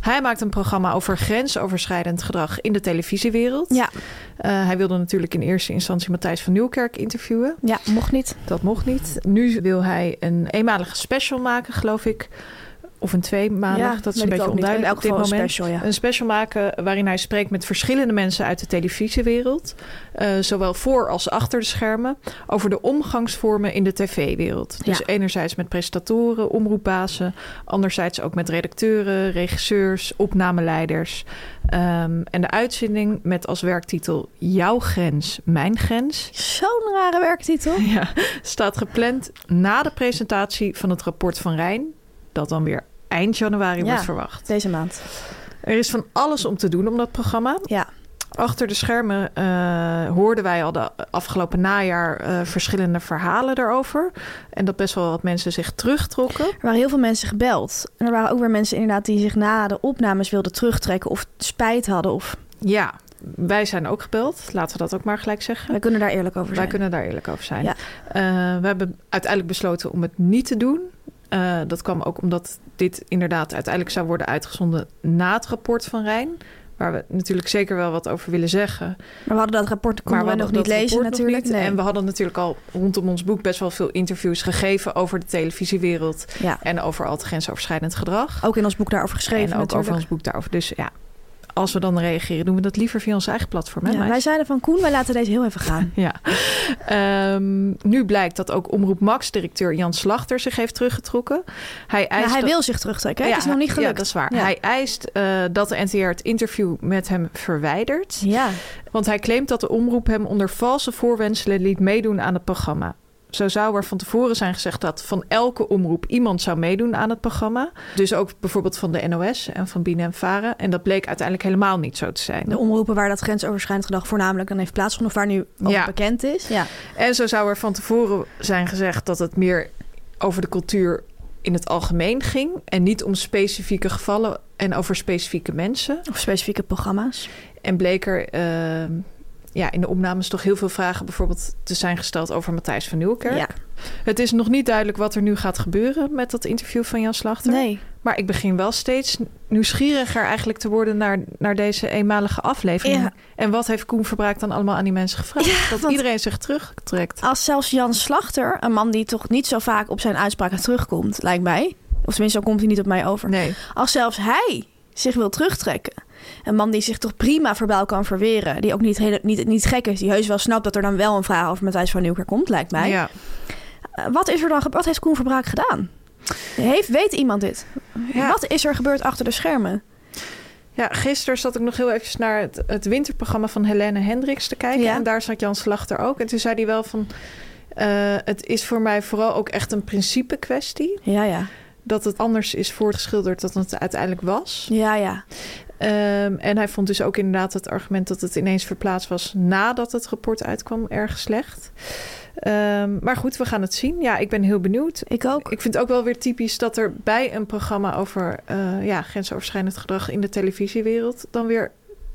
S2: Hij maakt een programma over grensoverschrijdend gedrag in de televisiewereld.
S1: Ja,
S2: Eh, hij wilde natuurlijk in eerste instantie Matthijs van Nieuwkerk interviewen.
S1: ja mocht niet.
S2: Dat mocht niet. Nu wil hij een eenmalige special maken, geloof ik. Of een tweemalig,
S1: ja,
S2: dat
S1: weet
S2: is
S1: ik
S2: een beetje
S1: ook niet. In
S2: onduidelijk
S1: elk
S2: op dit
S1: geval een
S2: moment.
S1: special, ja.
S2: Een special maken waarin hij spreekt met verschillende mensen uit de televisiewereld. eh, zowel voor als achter de schermen. Over de omgangsvormen in de tv-wereld. Dus
S1: Ja.
S2: enerzijds met presentatoren, omroepbazen. Anderzijds ook met redacteuren, regisseurs, opnameleiders. Ehm, en de uitzending met als werktitel Jouw grens, mijn grens.
S1: Zo'n rare werktitel.
S2: Ja, staat gepland na de presentatie van het rapport van Rijn. Dat dan weer eind januari
S1: Ja.
S2: wordt
S1: *laughs*
S2: verwacht.
S1: Deze maand.
S2: Er is van alles om te doen om dat programma.
S1: Ja,
S2: Achter de schermen eh, hoorden wij al de afgelopen najaar eh, verschillende verhalen daarover. En dat best wel wat mensen zich terugtrokken.
S1: er waren heel veel mensen gebeld. En er waren ook weer mensen inderdaad die zich na de opnames wilden terugtrekken of spijt hadden. Of...
S2: Ja, wij zijn ook gebeld. Laten we dat ook maar gelijk zeggen.
S1: Wij kunnen daar eerlijk over
S2: Wij
S1: zijn.
S2: kunnen daar eerlijk over zijn.
S1: Ja.
S2: Eh, we hebben uiteindelijk besloten om het niet te doen. Eh, dat kwam ook omdat dit inderdaad uiteindelijk zou worden uitgezonden na het rapport van Rijn. Waar we natuurlijk zeker wel wat over willen zeggen.
S1: Maar we hadden dat rapport konden
S2: maar
S1: we
S2: we
S1: nog
S2: hadden
S1: niet
S2: dat
S1: lezen
S2: rapport nog
S1: natuurlijk.
S2: niet.
S1: Nee.
S2: En we hadden natuurlijk al rondom ons boek best wel veel interviews gegeven over de televisiewereld.
S1: Ja.
S2: En over al het grensoverschrijdend gedrag.
S1: Ook in ons boek daarover geschreven
S2: en ook
S1: natuurlijk.
S2: over ons boek daarover. Dus ja, als we dan reageren, doen we dat liever via ons eigen platform. Hè,
S1: Ja, wij
S2: meisjes?
S1: zeiden van Koen, wij laten deze heel even gaan.
S2: Ja. Ehm, nu blijkt dat ook Omroep Max-directeur Jan Slachter zich heeft teruggetrokken. Hij
S1: Ja,
S2: eist
S1: *laughs* hij
S2: dat-
S1: wil zich terugtrekken. hè?
S2: Ja,
S1: het is nog niet
S2: ja, dat
S1: gelukt.
S2: is waar.
S1: Ja.
S2: Hij eist eh, dat de NTR het interview met hem verwijdert.
S1: Ja,
S2: Want hij claimt dat de omroep hem onder valse voorwendselen liet meedoen aan het programma. Zo zou er van tevoren zijn gezegd dat van elke omroep iemand zou meedoen aan het programma. Dus ook bijvoorbeeld van de NOS en van Binnen en Varen. En dat bleek uiteindelijk helemaal niet zo te zijn.
S1: De omroepen waar dat grensoverschrijdend gedrag voornamelijk dan heeft plaatsgevonden, of waar nu ook
S2: Ja.
S1: bekend is. Ja.
S2: En zo zou er van tevoren zijn gezegd dat het meer over de cultuur in het algemeen ging. En niet om specifieke gevallen en over specifieke mensen.
S1: Of specifieke programma's.
S2: En bleek er ehm, ja, in de opnames toch heel veel vragen bijvoorbeeld te zijn gesteld over Matthijs van Nieuwkerk.
S1: Ja.
S2: Het is nog niet duidelijk wat er nu gaat gebeuren met dat interview van Jan Slachter.
S1: Nee.
S2: Maar ik begin wel steeds nieuwsgieriger eigenlijk te worden naar, naar deze eenmalige aflevering.
S1: Ja.
S2: En wat heeft Koen Verbraak dan allemaal aan die mensen gevraagd? dat
S1: want-
S2: iedereen zich terugtrekt.
S1: Als zelfs Jan Slachter, een man die toch niet zo vaak op zijn uitspraken terugkomt, lijkt mij. Of tenminste, zo komt hij niet op mij over.
S2: Nee.
S1: Als zelfs hij zich wil terugtrekken. Een man die zich toch prima verbaal kan verweren. Die ook niet, hele, niet, niet gek is. Die heus wel snapt dat er dan wel een vraag over Matthijs van Nieuwkerk komt, lijkt mij.
S2: Ja.
S1: Eh, wat, is er dan, ge- wat heeft Koen Verbraak gedaan? Heeft, weet iemand dit?
S2: Ja.
S1: Wat is er gebeurd achter de schermen?
S2: Ja, gisteren zat ik nog heel even naar het, het winterprogramma van Helene Hendricks te kijken.
S1: Ja.
S2: En daar zat Jan Slachter ook. En toen zei hij wel van... eh, het is voor mij vooral ook echt een principe kwestie.
S1: Ja, ja.
S2: Dat het anders is voorgeschilderd dan het uiteindelijk was.
S1: Ja, ja.
S2: Ehm, en hij vond dus ook inderdaad het argument dat het ineens verplaatst was... nadat het rapport uitkwam, erg slecht. Ehm, maar goed, we gaan het zien. Ja, ik ben heel benieuwd.
S1: Ik ook.
S2: Ik vind het ook wel weer typisch dat er bij een programma over eh, ja, grensoverschrijdend gedrag in de televisiewereld dan weer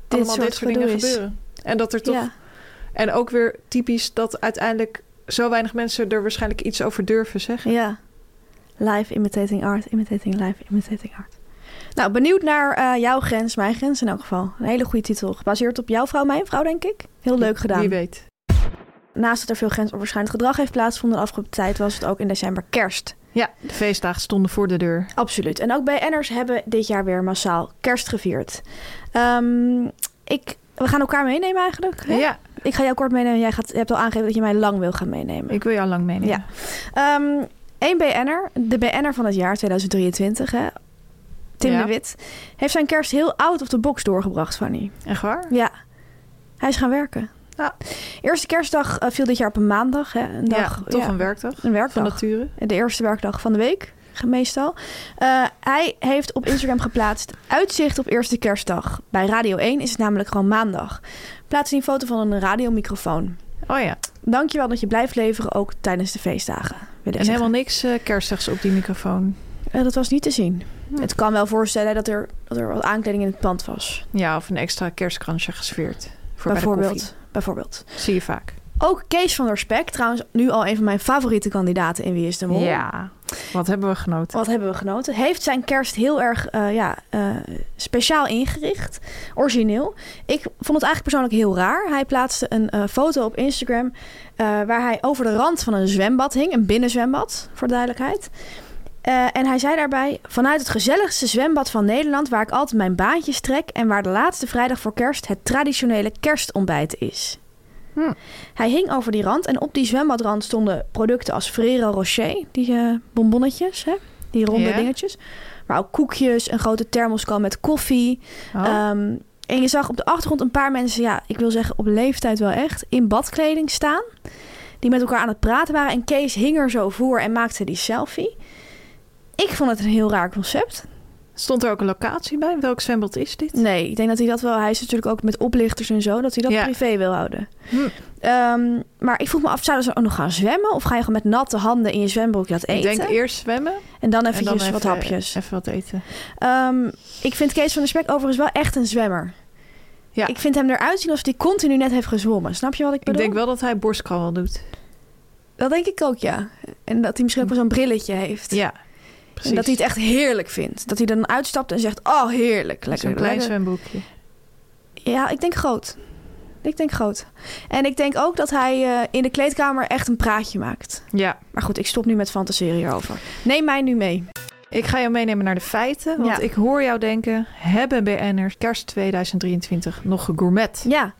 S2: allemaal
S1: soort
S2: dit soort dingen
S1: gedoe is.
S2: gebeuren. En dat er toch.
S1: Ja.
S2: En ook weer typisch dat uiteindelijk zo weinig mensen er waarschijnlijk iets over durven zeggen.
S1: ja. Live imitating art, imitating live, imitating art. Nou, benieuwd naar eh, jouw grens, mijn grens in elk geval. Een hele goede titel. Gebaseerd op jouw vrouw, mijn vrouw, denk ik. Heel leuk gedaan.
S2: Wie weet.
S1: Naast dat er veel grensoverschrijdend gedrag heeft plaatsgevonden de afgelopen tijd, was het ook in december kerst.
S2: Ja, de feestdagen stonden voor de deur.
S1: Absoluut. En ook BN'ers hebben dit jaar weer massaal kerst gevierd. Ehm, ik, we gaan elkaar meenemen eigenlijk. hè?
S2: Ja,
S1: Ik ga jou kort meenemen. Jij gaat, je hebt al aangegeven dat je mij lang wil gaan meenemen.
S2: ik wil jou lang meenemen.
S1: Ja. Eén BN'er, de BN'er van het jaar 2023, hè? Tim
S2: Ja.
S1: de Wit, heeft zijn kerst heel out of the box doorgebracht, Fanny.
S2: Echt waar?
S1: Ja, hij is gaan werken.
S2: Ah. Ja.
S1: Eerste kerstdag eh, viel dit jaar op een maandag. Hè? Een dag,
S2: ja, toch
S1: ja,
S2: een werkdag.
S1: een
S2: Van
S1: werkdag.
S2: nature.
S1: De eerste werkdag van de week, meestal. Eh, hij heeft op Instagram geplaatst... uitzicht op eerste kerstdag. Bij Radio 1 is het namelijk gewoon maandag. Plaats een foto van een radiomicrofoon.
S2: Oh ja.
S1: Dankjewel dat je blijft leveren, ook tijdens de feestdagen. Wil ik
S2: En
S1: zeggen.
S2: helemaal niks eh, kerstigs op die microfoon.
S1: Eh, dat was niet te zien. Het kan wel voorstellen dat er, dat er wat aankleding in het pand was.
S2: Ja, of een extra kerstkransje gesfeerd. Voor Bij de
S1: bijvoorbeeld. bijvoorbeeld.
S2: koffie. Zie je vaak.
S1: Ook Kees van der Spek, trouwens nu al een van mijn favoriete kandidaten in Wie is de Mol.
S2: Ja, wat hebben we genoten.
S1: Wat hebben we genoten? Heeft zijn kerst heel erg eh, ja, eh, speciaal ingericht. Origineel. Ik vond het eigenlijk persoonlijk heel raar. Hij plaatste een eh, foto op Instagram eh, waar hij over de rand van een zwembad hing. Een binnenzwembad, voor de duidelijkheid. Eh, en hij zei daarbij: Vanuit het gezelligste zwembad van Nederland, waar ik altijd mijn baantjes trek en waar de laatste vrijdag voor kerst het traditionele kerstontbijt is.
S2: Hm.
S1: Hij hing over die rand en op die zwembadrand stonden producten als Ferrero Rocher, die eh, bonbonnetjes, hè? die ronde
S2: Ja.
S1: dingetjes. Maar ook koekjes, een grote thermoskan met koffie.
S2: Oh.
S1: Ehm, en je zag op de achtergrond een paar mensen, ja, ik wil zeggen op leeftijd wel echt, in badkleding staan. Die met elkaar aan het praten waren. En Kees hing er zo voor en maakte die selfie. Ik vond het een heel raar concept.
S2: Stond er ook een locatie bij? Welk zwembad is dit?
S1: Nee, ik denk dat hij dat wel. Hij is natuurlijk ook met oplichters en zo, dat hij dat
S2: Ja.
S1: privé wil houden.
S2: Hm.
S1: Ehm, maar ik vroeg me af, zouden ze ook nog gaan zwemmen? Of ga je gewoon met natte handen in je zwembroekje dat
S2: Ik
S1: eten?
S2: denk eerst zwemmen
S1: en dan
S2: en
S1: eventjes
S2: dan even
S1: wat hapjes.
S2: Even wat eten.
S1: Ehm, ik vind Kees van der Spek overigens wel echt een zwemmer.
S2: Ja.
S1: Ik vind hem eruit zien alsof hij continu net heeft gezwommen. Snap je wat ik
S2: Ik
S1: bedoel?
S2: denk wel dat hij borstcrawl doet.
S1: Dat denk ik ook, ja. En dat hij misschien ook wel zo'n brilletje heeft.
S2: Ja,
S1: en
S2: precies.
S1: dat hij het echt heerlijk vindt. Dat hij dan uitstapt en zegt, oh heerlijk. Lekker,
S2: Zo'n klein
S1: lekker.
S2: zwembroekje.
S1: Ja, ik denk groot. Ik denk groot. En ik denk ook dat hij eh, in de kleedkamer echt een praatje maakt.
S2: Ja.
S1: Maar goed, ik stop nu met fantaseren hierover. Neem mij nu mee.
S2: Ik ga jou meenemen naar de feiten, want
S1: Ja.
S2: ik hoor jou denken... hebben BN'ers kerst 2023 nog gegourmet?
S1: Ja,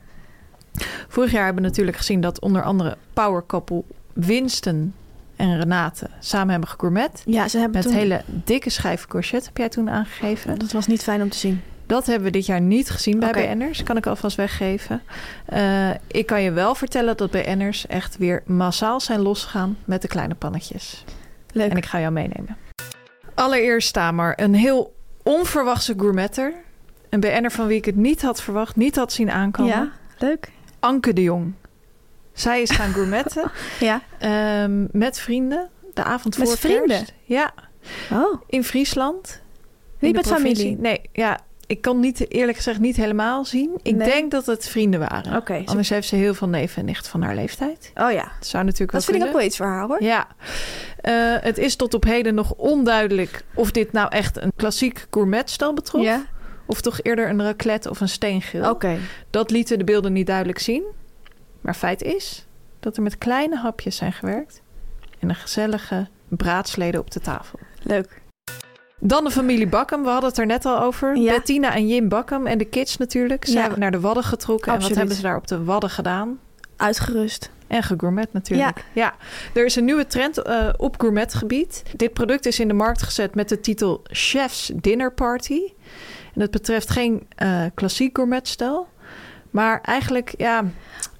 S2: Vorig jaar hebben we natuurlijk gezien dat onder andere power couple Winston en Renate samen hebben gegourmet.
S1: ja ze hebben
S2: Met
S1: toen...
S2: hele dikke schijf courgette heb jij toen aangegeven.
S1: Dat was niet fijn om te zien.
S2: Dat hebben we dit jaar niet gezien bij
S1: Oké.
S2: BN'ers. Kan ik alvast weggeven. Eh, ik kan je wel vertellen dat BN'ers echt weer massaal zijn losgegaan met de kleine pannetjes.
S1: Leuk.
S2: En ik ga jou meenemen. Allereerst Tamer, een heel onverwachte gourmetter. Een BN'er van wie ik het niet had verwacht, niet had zien aankomen.
S1: Ja, leuk.
S2: Anke de Jong. Zij is gaan
S1: *laughs*
S2: gourmetten
S1: Ja.
S2: ehm, met vrienden. De avond voor
S1: Met vrienden?
S2: kerst. Ja,
S1: Oh,
S2: in Friesland.
S1: niet
S2: In de
S1: met
S2: provincie.
S1: familie.
S2: Nee, ja. Ik kan niet eerlijk gezegd niet helemaal zien. Ik
S1: Nee.
S2: denk dat het vrienden waren.
S1: Oké, zo-
S2: Anders heeft ze heel veel neven en nichten van haar leeftijd.
S1: Oh ja.
S2: Dat zou natuurlijk
S1: Dat
S2: wel
S1: vind ik ook wel iets voor haar hoor.
S2: Ja. Eh, het is tot op heden nog onduidelijk of dit nou echt een klassiek gourmetstel betrof. Of toch eerder een raclette of een steengeel.
S1: Oké.
S2: Dat lieten de beelden niet duidelijk zien. Maar feit is dat er met kleine hapjes zijn gewerkt. En een gezellige braadsleden op de tafel.
S1: Leuk.
S2: Dan de familie Bakken. We hadden het er net al over.
S1: Ja.
S2: Bettina en Jim Bakken en de kids natuurlijk. Ze
S1: Ja.
S2: hebben naar de Wadden getrokken. En
S1: Absoluut.
S2: wat hebben ze daar op de Wadden gedaan?
S1: Uitgerust.
S2: En gegourmet natuurlijk. Ja. Er is een nieuwe trend eh, op gourmetgebied. Dit product is in de markt gezet met de titel Chef's Dinner Party. En dat betreft geen eh, klassiek gourmetstel. Maar eigenlijk, ja,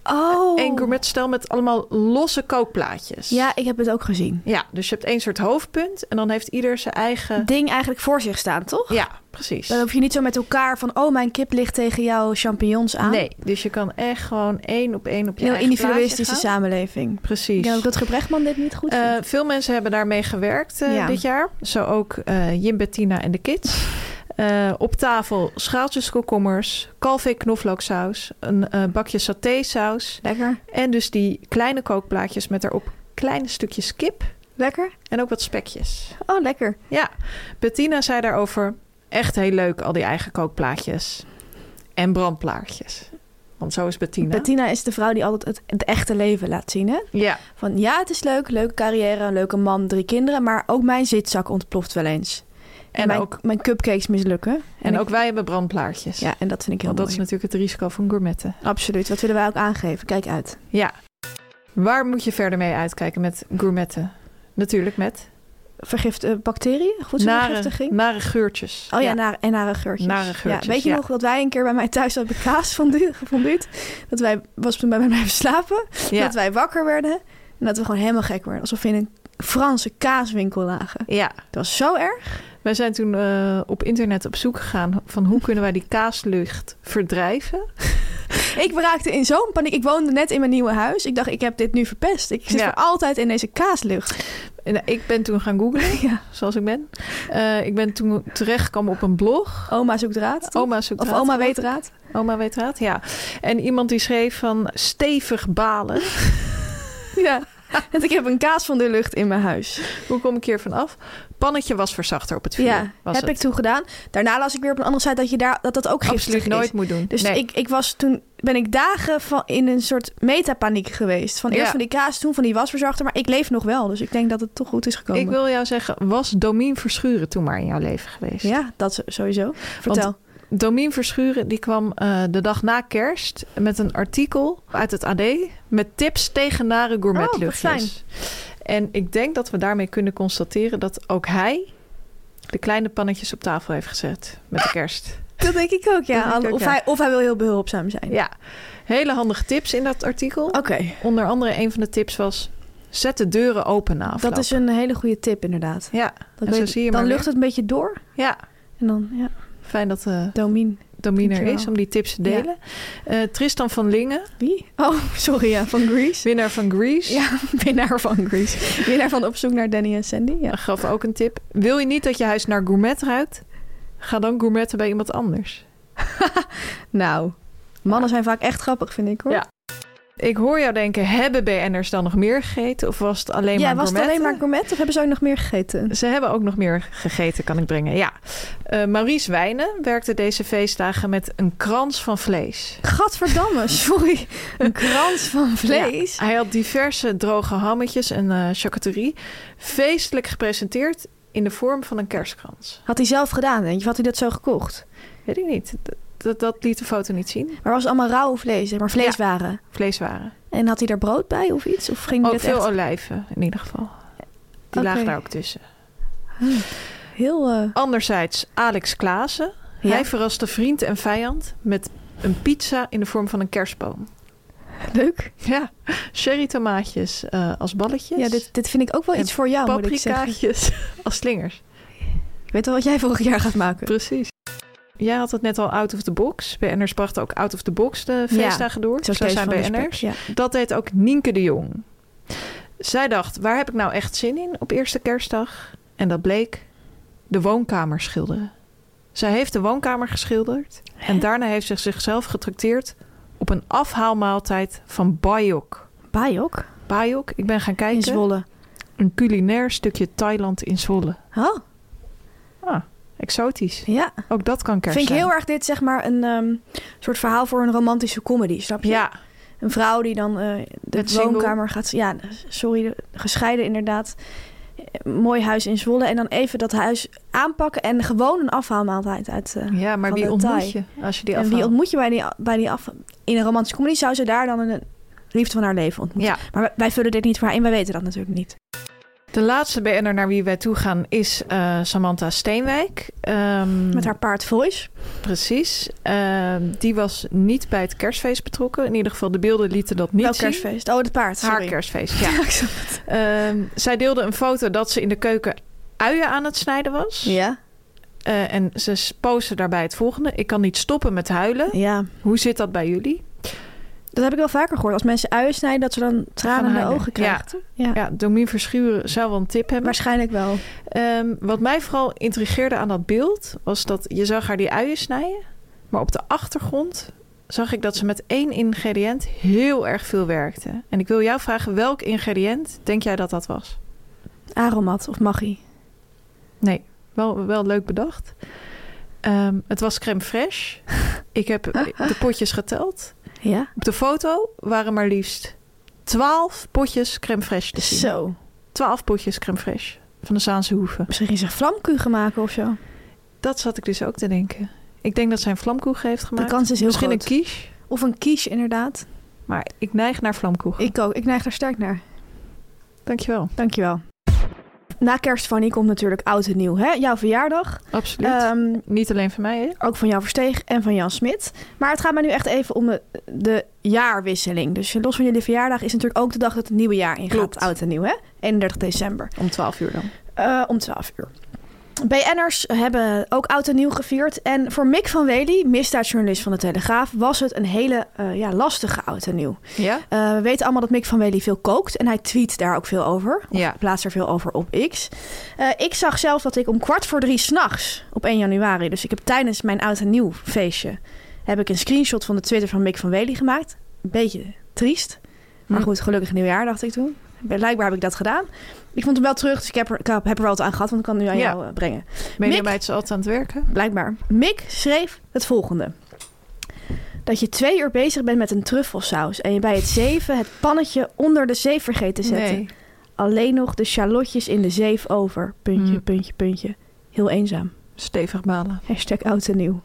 S1: Oh.
S2: Een gourmetstel met allemaal losse kookplaatjes.
S1: Ja, ik heb het ook gezien.
S2: ja, dus je hebt één soort hoofdpunt en dan heeft ieder zijn eigen.
S1: Ding eigenlijk voor zich staan, toch?
S2: Ja, precies.
S1: Dan hoef je niet zo met elkaar van, oh, mijn kip ligt tegen jouw champignons aan.
S2: Nee, dus je kan echt gewoon één op één op je
S1: Heel
S2: eigen
S1: individualistische
S2: plaatje gaan.
S1: samenleving. Ik
S2: Precies.
S1: denk ook dat Gebrechtman dit niet goed
S2: Eh,
S1: vindt.
S2: veel mensen hebben daarmee gewerkt eh,
S1: Ja.
S2: dit jaar. Zo ook eh, Jim, Bettina en de kids.
S1: *laughs*
S2: Eh, op tafel schaaltjes komkommers, kalfee knoflooksaus, een eh, bakje satésaus.
S1: lekker.
S2: En dus die kleine kookplaatjes met daarop kleine stukjes kip
S1: Lekker?
S2: en ook wat spekjes.
S1: Oh, lekker.
S2: Ja, Bettina zei daarover echt heel leuk al die eigen kookplaatjes en brandplaatjes. Want zo is Bettina.
S1: Bettina is de vrouw die altijd het, het echte leven laat zien, hè?
S2: Ja,
S1: Van ja, het is leuk, leuke carrière, een leuke man, drie kinderen, maar ook mijn zitzak ontploft wel eens. En,
S2: En
S1: mijn,
S2: ook-
S1: mijn cupcakes mislukken. En,
S2: en
S1: ik-
S2: ook wij hebben brandplaatjes.
S1: Ja, en dat vind ik heel
S2: Want dat is
S1: mooi.
S2: natuurlijk het risico van gourmetten.
S1: Absoluut, dat willen wij ook aangeven. Kijk uit.
S2: Ja. Waar moet je verder mee uitkijken met gourmetten? Natuurlijk met
S1: Vergift eh, bacteriën, goed zo'n
S2: nare,
S1: vergiftiging.
S2: nare geurtjes.
S1: Oh ja, nare- en nare geurtjes.
S2: Nare geurtjes,
S1: Ja, weet je
S2: ja.
S1: nog dat wij een keer bij mij thuis hadden kaas gefonduut? Dat wij, was toen bij mij blijven slapen.
S2: Ja.
S1: nou, Dat wij wakker werden en dat we gewoon helemaal gek werden. Alsof we in een Franse kaaswinkel lagen.
S2: ja.
S1: Dat was zo erg.
S2: Wij zijn toen eh, op internet op zoek gegaan van hoe kunnen wij die kaaslucht verdrijven.
S1: Ik raakte in zo'n paniek. Ik woonde net in mijn nieuwe huis. Ik dacht, ik heb dit nu verpest. Ik zit
S2: Ja.
S1: voor altijd in deze kaaslucht.
S2: En eh, ik ben toen gaan googlen, *laughs*
S1: Ja.
S2: zoals ik ben. Eh, ik ben toen terechtgekomen op een blog.
S1: Oma zoekt raad. toch?
S2: Oma zoekt
S1: of
S2: raad.
S1: oma weet raad.
S2: Oma weet raad, ja. En iemand die schreef van stevig
S1: *laughs*
S2: balen.
S1: Ja. *laughs* Want ik heb een kaas van de lucht in mijn huis.
S2: Hoe kom ik hier van af? Pannetje was verzachter op het vuur.
S1: Ja,
S2: was
S1: heb
S2: het.
S1: ik toen gedaan. Daarna las ik weer op een andere site dat je daar, dat, dat ook giftig
S2: absoluut
S1: is.
S2: nooit moet doen.
S1: Dus
S2: Nee.
S1: ik, ik was toen ben ik dagen van in een soort metapaniek geweest. Van eerst
S2: Ja.
S1: van die kaas, toen van die wasverzachter. Maar ik leef nog wel, dus ik denk dat het toch goed is gekomen.
S2: ik wil jou zeggen, was Domien Verschuren toen maar in jouw leven geweest?
S1: Ja, dat zo- sowieso. Vertel.
S2: Domien Verschuren die kwam eh, de dag na kerst met een artikel uit het AD met tips tegen nare
S1: Oh, wat
S2: gourmetluchtjes. en ik denk dat we daarmee kunnen constateren dat ook hij de kleine pannetjes op tafel heeft gezet met de kerst.
S1: *laughs* dat denk ik ook,
S2: Dat denk ik ook,
S1: of,
S2: ja.
S1: Hij, of hij wil heel behulpzaam zijn.
S2: Ja, hele handige tips in dat artikel.
S1: Oké,
S2: Onder andere een van de tips was... zet de deuren open na afloop.
S1: dat is een hele goede tip inderdaad.
S2: Ja,
S1: Dat
S2: en zo
S1: weet-
S2: zie je
S1: dan
S2: maar
S1: lucht het een beetje door.
S2: weer. Ja,
S1: En dan, ja,
S2: fijn dat de
S1: domien.
S2: domin er
S1: Dankjewel.
S2: is om die tips te delen. Eh, Tristan van Lingen,
S1: Wie? Oh, *laughs* sorry, ja, van Grease.
S2: winnaar van Grease...
S1: Ja, *laughs* winnaar van Grease. Winnaar van Op zoek naar Danny en Sandy. Ja.
S2: gaf ook een tip. Wil je niet dat je huis naar gourmet ruikt? Ga dan gourmetten bij iemand anders.
S1: Nou, mannen zijn vaak echt grappig, vind ik hoor.
S2: Ja. Ik hoor jou denken, hebben BN'ers dan nog meer gegeten? Of was het alleen
S1: ja,
S2: maar
S1: was het alleen
S2: gourmetten?
S1: maar gourmet of hebben ze ook nog meer *laughs* gegeten?
S2: Ze hebben ook nog meer gegeten, kan ik brengen. Ja. Eh, Maurice Wijnen werkte deze feestdagen met een krans van vlees.
S1: Gadverdamme, sorry. Een krans van vlees.
S2: Ja, hij had diverse droge hammetjes en eh charcuterie feestelijk gepresenteerd in de vorm van een kerstkrans.
S1: Had hij zelf gedaan, denk je? Of had hij dat zo gekocht?
S2: Weet ik niet. Dat, dat, dat liet de foto niet zien.
S1: Maar was het allemaal rauw vlees, zeg maar vleeswaren.
S2: Vleeswaren.
S1: En had hij daar brood bij of iets? Of ging hij
S2: Ook
S1: dat
S2: veel
S1: echt
S2: olijven in ieder geval. Die
S1: Oké.
S2: lagen daar ook tussen.
S1: heel... eh,
S2: Anderzijds Alex Klaassen.
S1: Ja.
S2: Hij verraste vriend en vijand met een pizza in de vorm van een kerstboom.
S1: Leuk.
S2: Ja, sherry tomaatjes eh, als balletjes.
S1: Ja, dit, dit vind ik ook wel
S2: En
S1: iets voor jou, moet ik zeggen.
S2: paprikaatjes *laughs* als slingers.
S1: Ik weet wel wat jij vorig jaar gaat maken.
S2: Precies. Jij had het net al out of the box. BN'ers brachten ook out of the box de
S1: Ja,
S2: feestdagen door. Zo,
S1: Kees
S2: zijn
S1: van der Spek,
S2: BN'ers.
S1: Ja.
S2: Dat deed ook Nienke de Jong. Zij dacht, waar heb ik nou echt zin in op eerste kerstdag? En dat bleek de woonkamer schilderen. Zij heeft de woonkamer geschilderd. En daarna heeft ze zichzelf getrakteerd op een afhaalmaaltijd van Bayok.
S1: Bayok
S2: Bayok, ik ben gaan
S1: in
S2: kijken.
S1: Zwolle.
S2: Een culinair stukje Thailand in Zwolle.
S1: Oh,
S2: Ah, exotisch.
S1: ja.
S2: Ook dat kan kerst
S1: Vind ik
S2: zijn.
S1: heel erg dit, zeg maar, een ehm, soort verhaal voor een romantische comedy, snap je?
S2: Ja,
S1: Een vrouw die dan eh, de
S2: Met single.
S1: woonkamer gaat... Ja, sorry, de- gescheiden inderdaad. Eh, Mooi huis in Zwolle. En dan even dat huis aanpakken en gewoon een afhaalmaaltijd uit... eh,
S2: ja maar
S1: Van
S2: wie
S1: de
S2: ontmoet je als je die
S1: en wie
S2: afhaalt?
S1: ontmoet je bij die, bij die af... In een romantische comedy zou ze daar dan een liefde van haar leven ontmoeten.
S2: Ja.
S1: Maar wij, wij vullen dit niet voor haar in, wij weten dat natuurlijk niet.
S2: De laatste BN'er naar wie wij toe gaan is eh, Samantha Steenwijk. Ehm,
S1: Met haar paard Voice.
S2: Precies. Ehm, die was niet bij het kerstfeest betrokken. In ieder geval, de beelden lieten dat niet
S1: Wel
S2: zien.
S1: kerstfeest. Oh, het paard.
S2: Haar
S1: sorry. *laughs*
S2: kerstfeest, ja.
S1: Ja, ik snap het.
S2: Ehm, zij deelde een foto dat ze in de keuken uien aan het snijden was.
S1: Ja,
S2: Eh, en ze s- postte daarbij het volgende. Ik kan niet stoppen met huilen.
S1: ja.
S2: Hoe zit dat bij jullie?
S1: Dat heb ik wel vaker gehoord. Als mensen uien snijden, dat ze dan tranen in de
S2: huilen.
S1: ogen krijgt. Ja.
S2: Ja, Domien Verschuren zou wel een tip hebben.
S1: Waarschijnlijk wel.
S2: Ehm, wat mij vooral intrigeerde aan dat beeld was dat je zag haar die uien snijden, maar op de achtergrond zag ik dat ze met één ingrediënt heel erg veel werkte. En ik wil jou vragen welk ingrediënt denk jij dat dat was?
S1: Aromat of magie.
S2: Nee, wel, wel leuk bedacht. Ehm, het was crème fraîche. *laughs* Ik heb de potjes geteld.
S1: Ja?
S2: Op de foto waren maar liefst twaalf potjes crème fraîche te zien.
S1: Zo.
S2: Twaalf potjes crème fraîche van de Zaanse Hoeve.
S1: Misschien ging ze vlamkugen maken of zo.
S2: Dat zat ik dus ook te denken. Ik denk dat zij een vlamkoegen heeft
S1: De
S2: gemaakt.
S1: kans is heel
S2: Misschien
S1: groot.
S2: een quiche.
S1: Of een quiche, inderdaad.
S2: Maar ik neig naar vlamkoegen.
S1: Ik ook. Ik neig daar sterk naar.
S2: Dankjewel.
S1: Dankjewel. Na kerst, Fanny, komt natuurlijk oud en nieuw. Hè? Jouw verjaardag.
S2: Absoluut.
S1: Ehm,
S2: Niet alleen van mij, hè?
S1: ook van Jan Versteeg en van Jan Smit. Maar het gaat mij nu echt even om de, de jaarwisseling. Dus los van jullie verjaardag is natuurlijk ook de dag dat het nieuwe jaar ingaat.
S2: Klopt.
S1: Oud en nieuw, hè? 31 december.
S2: Om 12 uur dan.
S1: Eh, om 12 uur. BN'ers hebben ook oud en nieuw gevierd. En voor Mick van Wely, misdaadjournalist van de Telegraaf, was het een hele eh, ja, lastige oud en nieuw.
S2: Ja?
S1: Eh, we weten allemaal dat Mick van Wely veel kookt en hij tweet daar ook veel over.
S2: Ja.
S1: Plaatst er veel over op X. Eh, ik zag zelf dat ik om kwart voor drie s'nachts op 1 januari, dus ik heb tijdens mijn oud en nieuw feestje, heb ik een screenshot van de Twitter van Mick van Wely gemaakt. Een beetje triest. Maar
S2: Hm.
S1: goed, gelukkig nieuwjaar dacht ik toen. Blijkbaar heb ik dat gedaan. Ik vond hem wel terug, dus ik heb er, ik heb er wel wat aan gehad, want ik kan het nu aan
S2: Ja.
S1: jou eh, brengen
S2: Mediameid is altijd aan het werken.
S1: blijkbaar. Mick schreef het volgende. Dat je twee uur bezig bent met een truffelsaus en je bij het zeven het pannetje onder de zeef vergeet te zetten.
S2: Nee.
S1: Alleen nog de shallotjes in de zeef over. Puntje,
S2: Hmm.
S1: puntje, puntje. Heel eenzaam.
S2: Stevig balen.
S1: Hashtag oud en nieuw.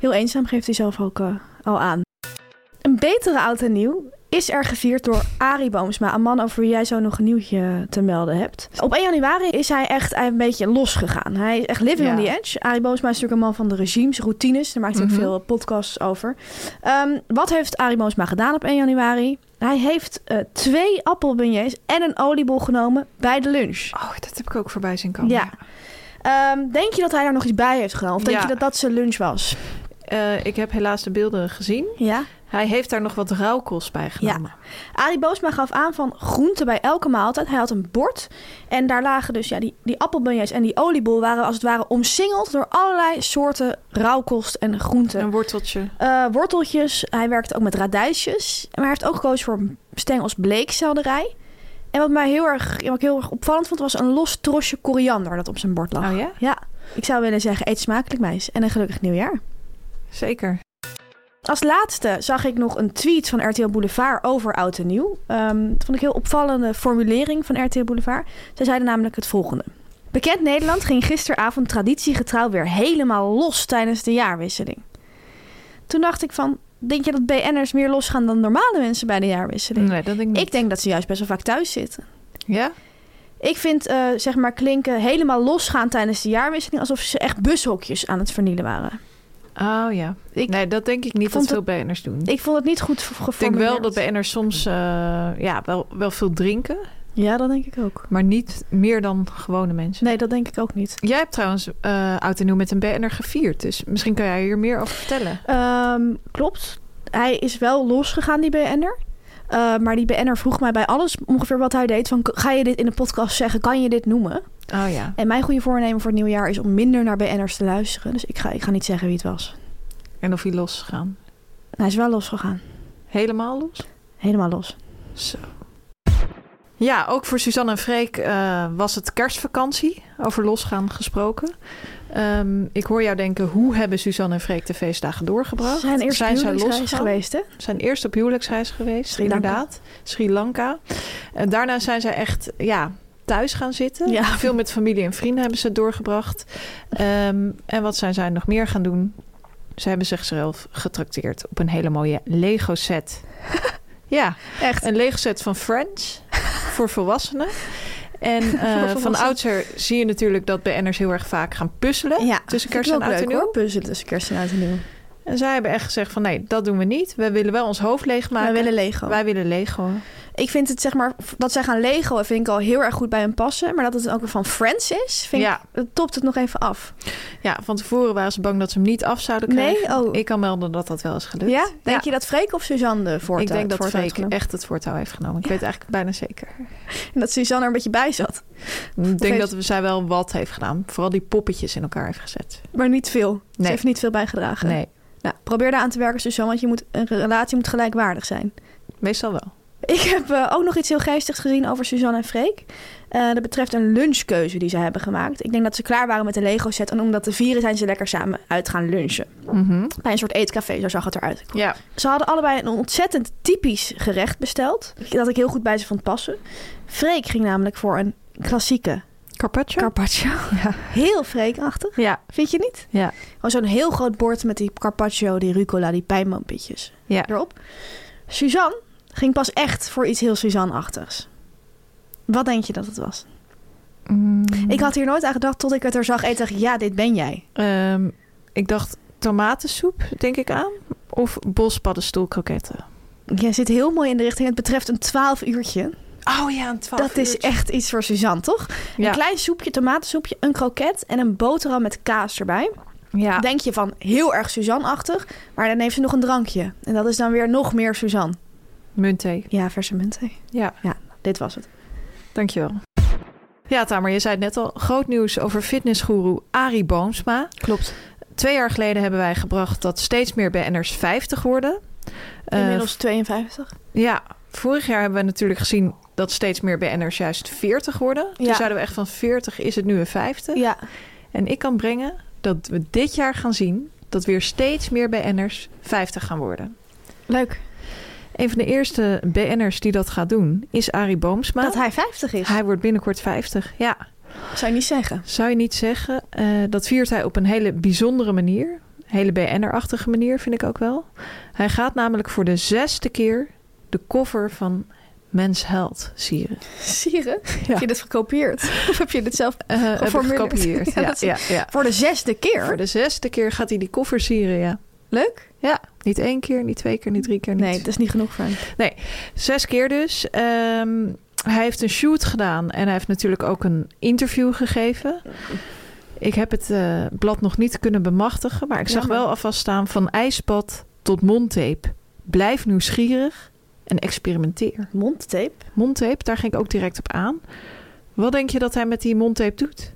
S1: Heel eenzaam geeft hij zelf ook eh, al aan. Een betere oud en nieuw is er gevierd door Arie Boomsma. Een man over wie jij zo nog een nieuwtje te melden hebt. Op 1 januari is hij echt een beetje losgegaan. Hij is echt living
S2: Ja.
S1: on the edge. Arie Boomsma is natuurlijk een man van de regimes, routines. Daar maakt hij
S2: Mhm.
S1: ook veel podcasts over. Ehm, wat heeft Arie Boomsma gedaan op 1 januari? Hij heeft eh, twee appelbeignets en een oliebol genomen bij de lunch.
S2: Oh, dat heb ik ook voorbij zien komen.
S1: Ja. Ehm, denk je dat hij daar nog iets bij heeft gedaan? Of denk
S2: Ja.
S1: je dat dat zijn lunch was?
S2: Eh, ik heb helaas de beelden gezien.
S1: Ja.
S2: Hij heeft daar nog wat rauwkost bij genomen.
S1: Arie Boosma gaf aan van groenten bij elke maaltijd. Hij had een bord en daar lagen dus ja, die, die appelbeignets en die oliebol waren als het ware omsingeld door allerlei soorten rauwkost en groenten.
S2: Een worteltje.
S1: Eh, worteltjes, hij werkte ook met radijsjes. Maar hij heeft ook gekozen voor stengels bleekselderij. En wat mij heel erg, wat ik heel erg opvallend vond, was een los trosje koriander dat op zijn bord lag.
S2: Oh ja?
S1: Ja, ik zou willen zeggen, eet smakelijk meis en een gelukkig nieuwjaar.
S2: Zeker.
S1: Als laatste zag ik nog een tweet van RTL Boulevard over oud en nieuw. Ehm, dat vond ik een heel opvallende formulering van RTL Boulevard. Zij zeiden namelijk het volgende. Bekend Nederland ging gisteravond traditiegetrouw weer helemaal los tijdens de jaarwisseling. Toen dacht ik van, denk je dat BN'ers meer losgaan dan normale mensen bij de jaarwisseling?
S2: Nee, dat denk ik niet.
S1: Ik denk dat ze juist best wel vaak thuis zitten.
S2: Ja?
S1: Ik vind eh, zeg maar klinken helemaal losgaan tijdens de jaarwisseling alsof ze echt bushokjes aan het vernielen waren.
S2: Oh ja.
S1: Ik-
S2: nee, dat denk ik niet dat
S1: vond
S2: veel BN'ers doen. Ik
S1: Ik vond het niet goed ge- geformuleerd.
S2: denk wel dat BN'ers soms eh, ja, wel, wel veel drinken,
S1: Ja, dat denk ik ook.
S2: maar niet meer dan gewone mensen.
S1: Nee, dat denk ik ook niet.
S2: Jij hebt trouwens eh Oud en Nieuw met een BN'er gevierd, dus misschien kan jij hier meer over vertellen.
S1: Ehm, klopt. Hij is wel losgegaan, die BN'er. Eh, maar die BN'er vroeg mij bij alles ongeveer wat hij deed. Van, ga je dit in de podcast zeggen? Kan je dit noemen?
S2: Oh ja.
S1: En mijn goede voornemen voor het nieuwe jaar is om minder naar BN'ers te luisteren. Dus ik ga, ik ga niet zeggen wie het was.
S2: En of hij los is gegaan.
S1: En hij is wel losgegaan.
S2: Helemaal los?
S1: Helemaal los.
S2: Zo. Ja, ook voor Suzanne en Freek eh, was het kerstvakantie, over losgaan gesproken. Ehm, ik hoor jou denken, hoe hebben Suzanne en Freek de feestdagen doorgebracht?
S1: Ze zijn eerst
S2: zijn zij
S1: huwelijksreis
S2: losgegaan?
S1: geweest, hè?
S2: Zijn eerst op huwelijksreis geweest,
S1: Sri Lanka.
S2: inderdaad. Sri Lanka. En daarna zijn zij echt ja, thuis gaan zitten.
S1: Ja.
S2: Veel met familie en vrienden hebben ze het doorgebracht. Ehm, en wat zijn zij nog meer gaan doen? Ze hebben zichzelf getrakteerd op een hele mooie Lego
S1: *laughs*
S2: set. ja,
S1: Echt.
S2: een Lego set van Friends voor volwassenen.
S1: *laughs*
S2: En eh, van
S1: volwassenen.
S2: oudsher zie je natuurlijk dat BN'ers heel erg vaak gaan puzzelen
S1: Ja,
S2: tussen
S1: Vind ik
S2: kerst en
S1: wel
S2: oud en
S1: leuk,
S2: nieuw.
S1: hoor, puzzelen tussen kerst en oud en nieuw.
S2: En zij hebben echt gezegd van nee, dat doen we niet. We willen wel ons hoofd leegmaken.
S1: Wij willen Lego.
S2: Wij willen Lego.
S1: Ik vind het zeg maar, dat zij gaan Lego vind ik al heel erg goed bij hem passen. Maar dat het ook weer van Friends is, vind
S2: Ja.
S1: ik, dat topt het nog even af.
S2: Ja, van tevoren waren ze bang dat ze hem niet af zouden krijgen.
S1: Nee? Oh.
S2: Ik kan melden dat dat wel is gelukt.
S1: Ja? Denk je dat Freek of Suzanne de voortouw
S2: Ik denk dat
S1: voortouw heeft
S2: Freek
S1: genomen?
S2: echt het voortouw heeft genomen. Ik weet eigenlijk bijna zeker.
S1: En dat Suzanne er een beetje bij zat.
S2: Ik denk
S1: heeft-
S2: dat zij wel wat heeft gedaan. Vooral die poppetjes in elkaar heeft gezet.
S1: Maar niet veel. Ze
S2: Nee.
S1: heeft niet veel bijgedragen.
S2: Nee,
S1: Nou, probeer daar aan te werken, Suzanne, want je moet, een relatie moet gelijkwaardig zijn.
S2: meestal wel.
S1: Ik heb eh, ook nog iets heel geestigs gezien over Suzanne en Freek. Eh, dat betreft een lunchkeuze die ze hebben gemaakt. Ik denk dat ze klaar waren met de Lego set. En om dat te vieren zijn ze lekker samen uit gaan lunchen. Bij een soort eetcafé, zo zag het eruit.
S2: Ja.
S1: Ze hadden allebei een ontzettend typisch gerecht besteld. Dat ik heel goed bij ze vond passen. Freek ging namelijk voor een klassieke
S2: Carpaccio?
S1: carpaccio. Heel Freekachtig.
S2: ja.
S1: Vind je niet?
S2: Ja.
S1: Gewoon zo'n heel groot bord met die carpaccio, die rucola, die pijnboompitjes
S2: Ja.
S1: erop. Suzanne ging pas echt voor iets heel Suzanne-achtigs. Wat denk je dat het was?
S2: Mm.
S1: Ik had hier nooit aan gedacht tot ik het er zag en ik dacht, ja, dit ben jij.
S2: Ehm, ik dacht tomatensoep, denk ik aan. Of bospaddenstoelkroketten.
S1: Jij zit heel mooi in de richting. Het betreft een 12 uurtje.
S2: Oh ja, een twaalf
S1: Dat is echt iets voor Suzanne, toch? Een
S2: Ja.
S1: klein soepje, tomatensoepje, een kroket en een boterham met kaas erbij.
S2: ja.
S1: Denk je van heel erg Suzanne-achtig, maar dan heeft ze nog een drankje. En dat is dan weer nog meer Suzanne.
S2: Muntthee.
S1: Ja, verse munten.
S2: Ja.
S1: Dit was het.
S2: Dankjewel. Ja, Tamer, je zei het net al. Groot nieuws over fitnessgoeroe Arie Boomsma.
S1: Klopt.
S2: Twee jaar geleden hebben wij gebracht dat steeds meer BN'ers 50 worden. Eh,
S1: Inmiddels 52.
S2: ja, vorig jaar hebben we natuurlijk gezien dat steeds meer BN'ers juist 40 worden.
S1: Ja.
S2: Toen zeiden we echt van 40 is het nu een 50.
S1: Ja,
S2: En ik kan brengen dat we dit jaar gaan zien dat weer steeds meer BN'ers 50 gaan worden.
S1: leuk.
S2: Een van de eerste BN'ers die dat gaat doen is Arie Boomsma.
S1: Dat hij 50 is,
S2: hij wordt binnenkort 50, ja.
S1: zou je niet *laughs* zeggen.
S2: Zou je niet zeggen, eh, dat viert hij op een hele bijzondere manier. Hele BN'er-achtige manier, vind ik ook wel. Hij gaat namelijk voor de zesde keer de cover van Mens Held sieren.
S1: Sieren, heb
S2: Ja.
S1: je dit *laughs* gekopieerd? Of heb je dit zelf
S2: Eh, heb ik
S1: Geformuleerd.
S2: gekopieerd.
S1: Ja, *laughs*
S2: Ja,
S1: dat is-
S2: ja, ja.
S1: voor de zesde keer?
S2: Voor de zesde keer gaat hij die cover sieren, ja.
S1: Leuk?
S2: Ja, niet één keer, niet twee keer, niet drie keer, niet
S1: Nee, dat is niet genoeg voor hem.
S2: Zes keer dus. Ehm, hij heeft een shoot gedaan en hij heeft natuurlijk ook een interview gegeven. Ik heb het eh, blad nog niet kunnen bemachtigen, maar ik zag
S1: Jammer.
S2: wel alvast staan van ijspad tot mondtape. Blijf nieuwsgierig en experimenteer.
S1: Mondtape?
S2: Mondtape, daar ging ik ook direct op aan. Wat denk je dat hij met die mondtape doet?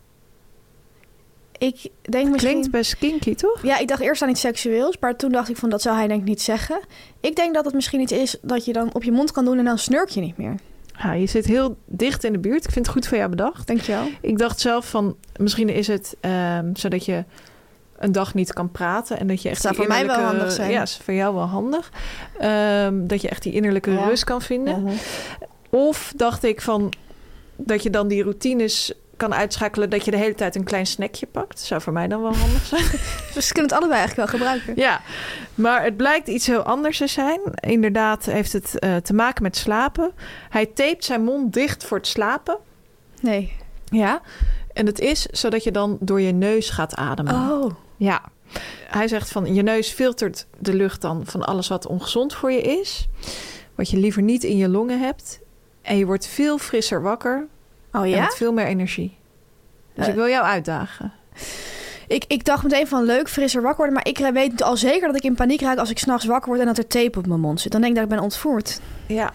S1: Ik denk misschien...
S2: Klinkt best kinky, toch?
S1: Ja, ik dacht eerst aan iets seksueels, maar toen dacht ik van dat zou hij denk ik niet zeggen. Ik denk dat het misschien iets is dat je dan op je mond kan doen en dan snurk je niet meer.
S2: Ja, je zit heel dicht in de buurt. Ik vind het goed van jou bedacht.
S1: Dankjewel.
S2: Ik dacht zelf van, misschien is het ehm, zodat je een dag niet kan praten en dat je echt
S1: zou
S2: die
S1: voor mij wel
S2: innerlijke-
S1: handig zijn.
S2: Ja, is voor jou wel handig. Ehm, dat je echt die innerlijke
S1: Ja.
S2: rust kan vinden.
S1: Ja.
S2: Of dacht ik van dat je dan die routines kan uitschakelen dat je de hele tijd een klein snackje pakt. Zou voor mij dan wel handig
S1: *laughs*
S2: zijn.
S1: Dus ze kunnen het allebei eigenlijk wel gebruiken.
S2: ja, maar het blijkt iets heel anders te zijn. Inderdaad heeft het eh, te maken met slapen. Hij tapet zijn mond dicht voor het slapen.
S1: Nee.
S2: Ja. En het is zodat je dan door je neus gaat ademen.
S1: Oh.
S2: Ja. Hij zegt van je neus filtert de lucht dan van alles wat ongezond voor je is. Wat je liever niet in je longen hebt. En je wordt veel frisser wakker.
S1: Oh
S2: En
S1: ja?
S2: met veel meer energie. Dus
S1: Eh.
S2: ik wil jou uitdagen.
S1: Ik, ik dacht meteen van leuk, frisser wakker worden. Maar ik weet al zeker dat ik in paniek raak als ik s'nachts wakker word en dat er tape op mijn mond zit. Dan denk ik dat ik ben ontvoerd.
S2: Ja,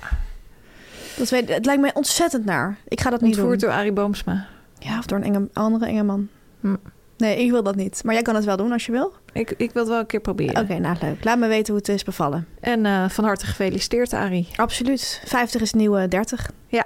S1: Dat weet, het lijkt mij ontzettend naar. Ik ga dat niet
S2: ontvoerd
S1: doen.
S2: door Arie Boomsma.
S1: Ja, of door een enge, andere enge man.
S2: Hm.
S1: Nee, ik wil dat niet. Maar jij kan het wel doen als je wil.
S2: Ik, ik wil het wel een keer proberen.
S1: Oké, nou leuk. Laat me weten hoe het is bevallen.
S2: En eh, van harte gefeliciteerd Arie.
S1: Absoluut. 50 is het nieuwe 30.
S2: Ja.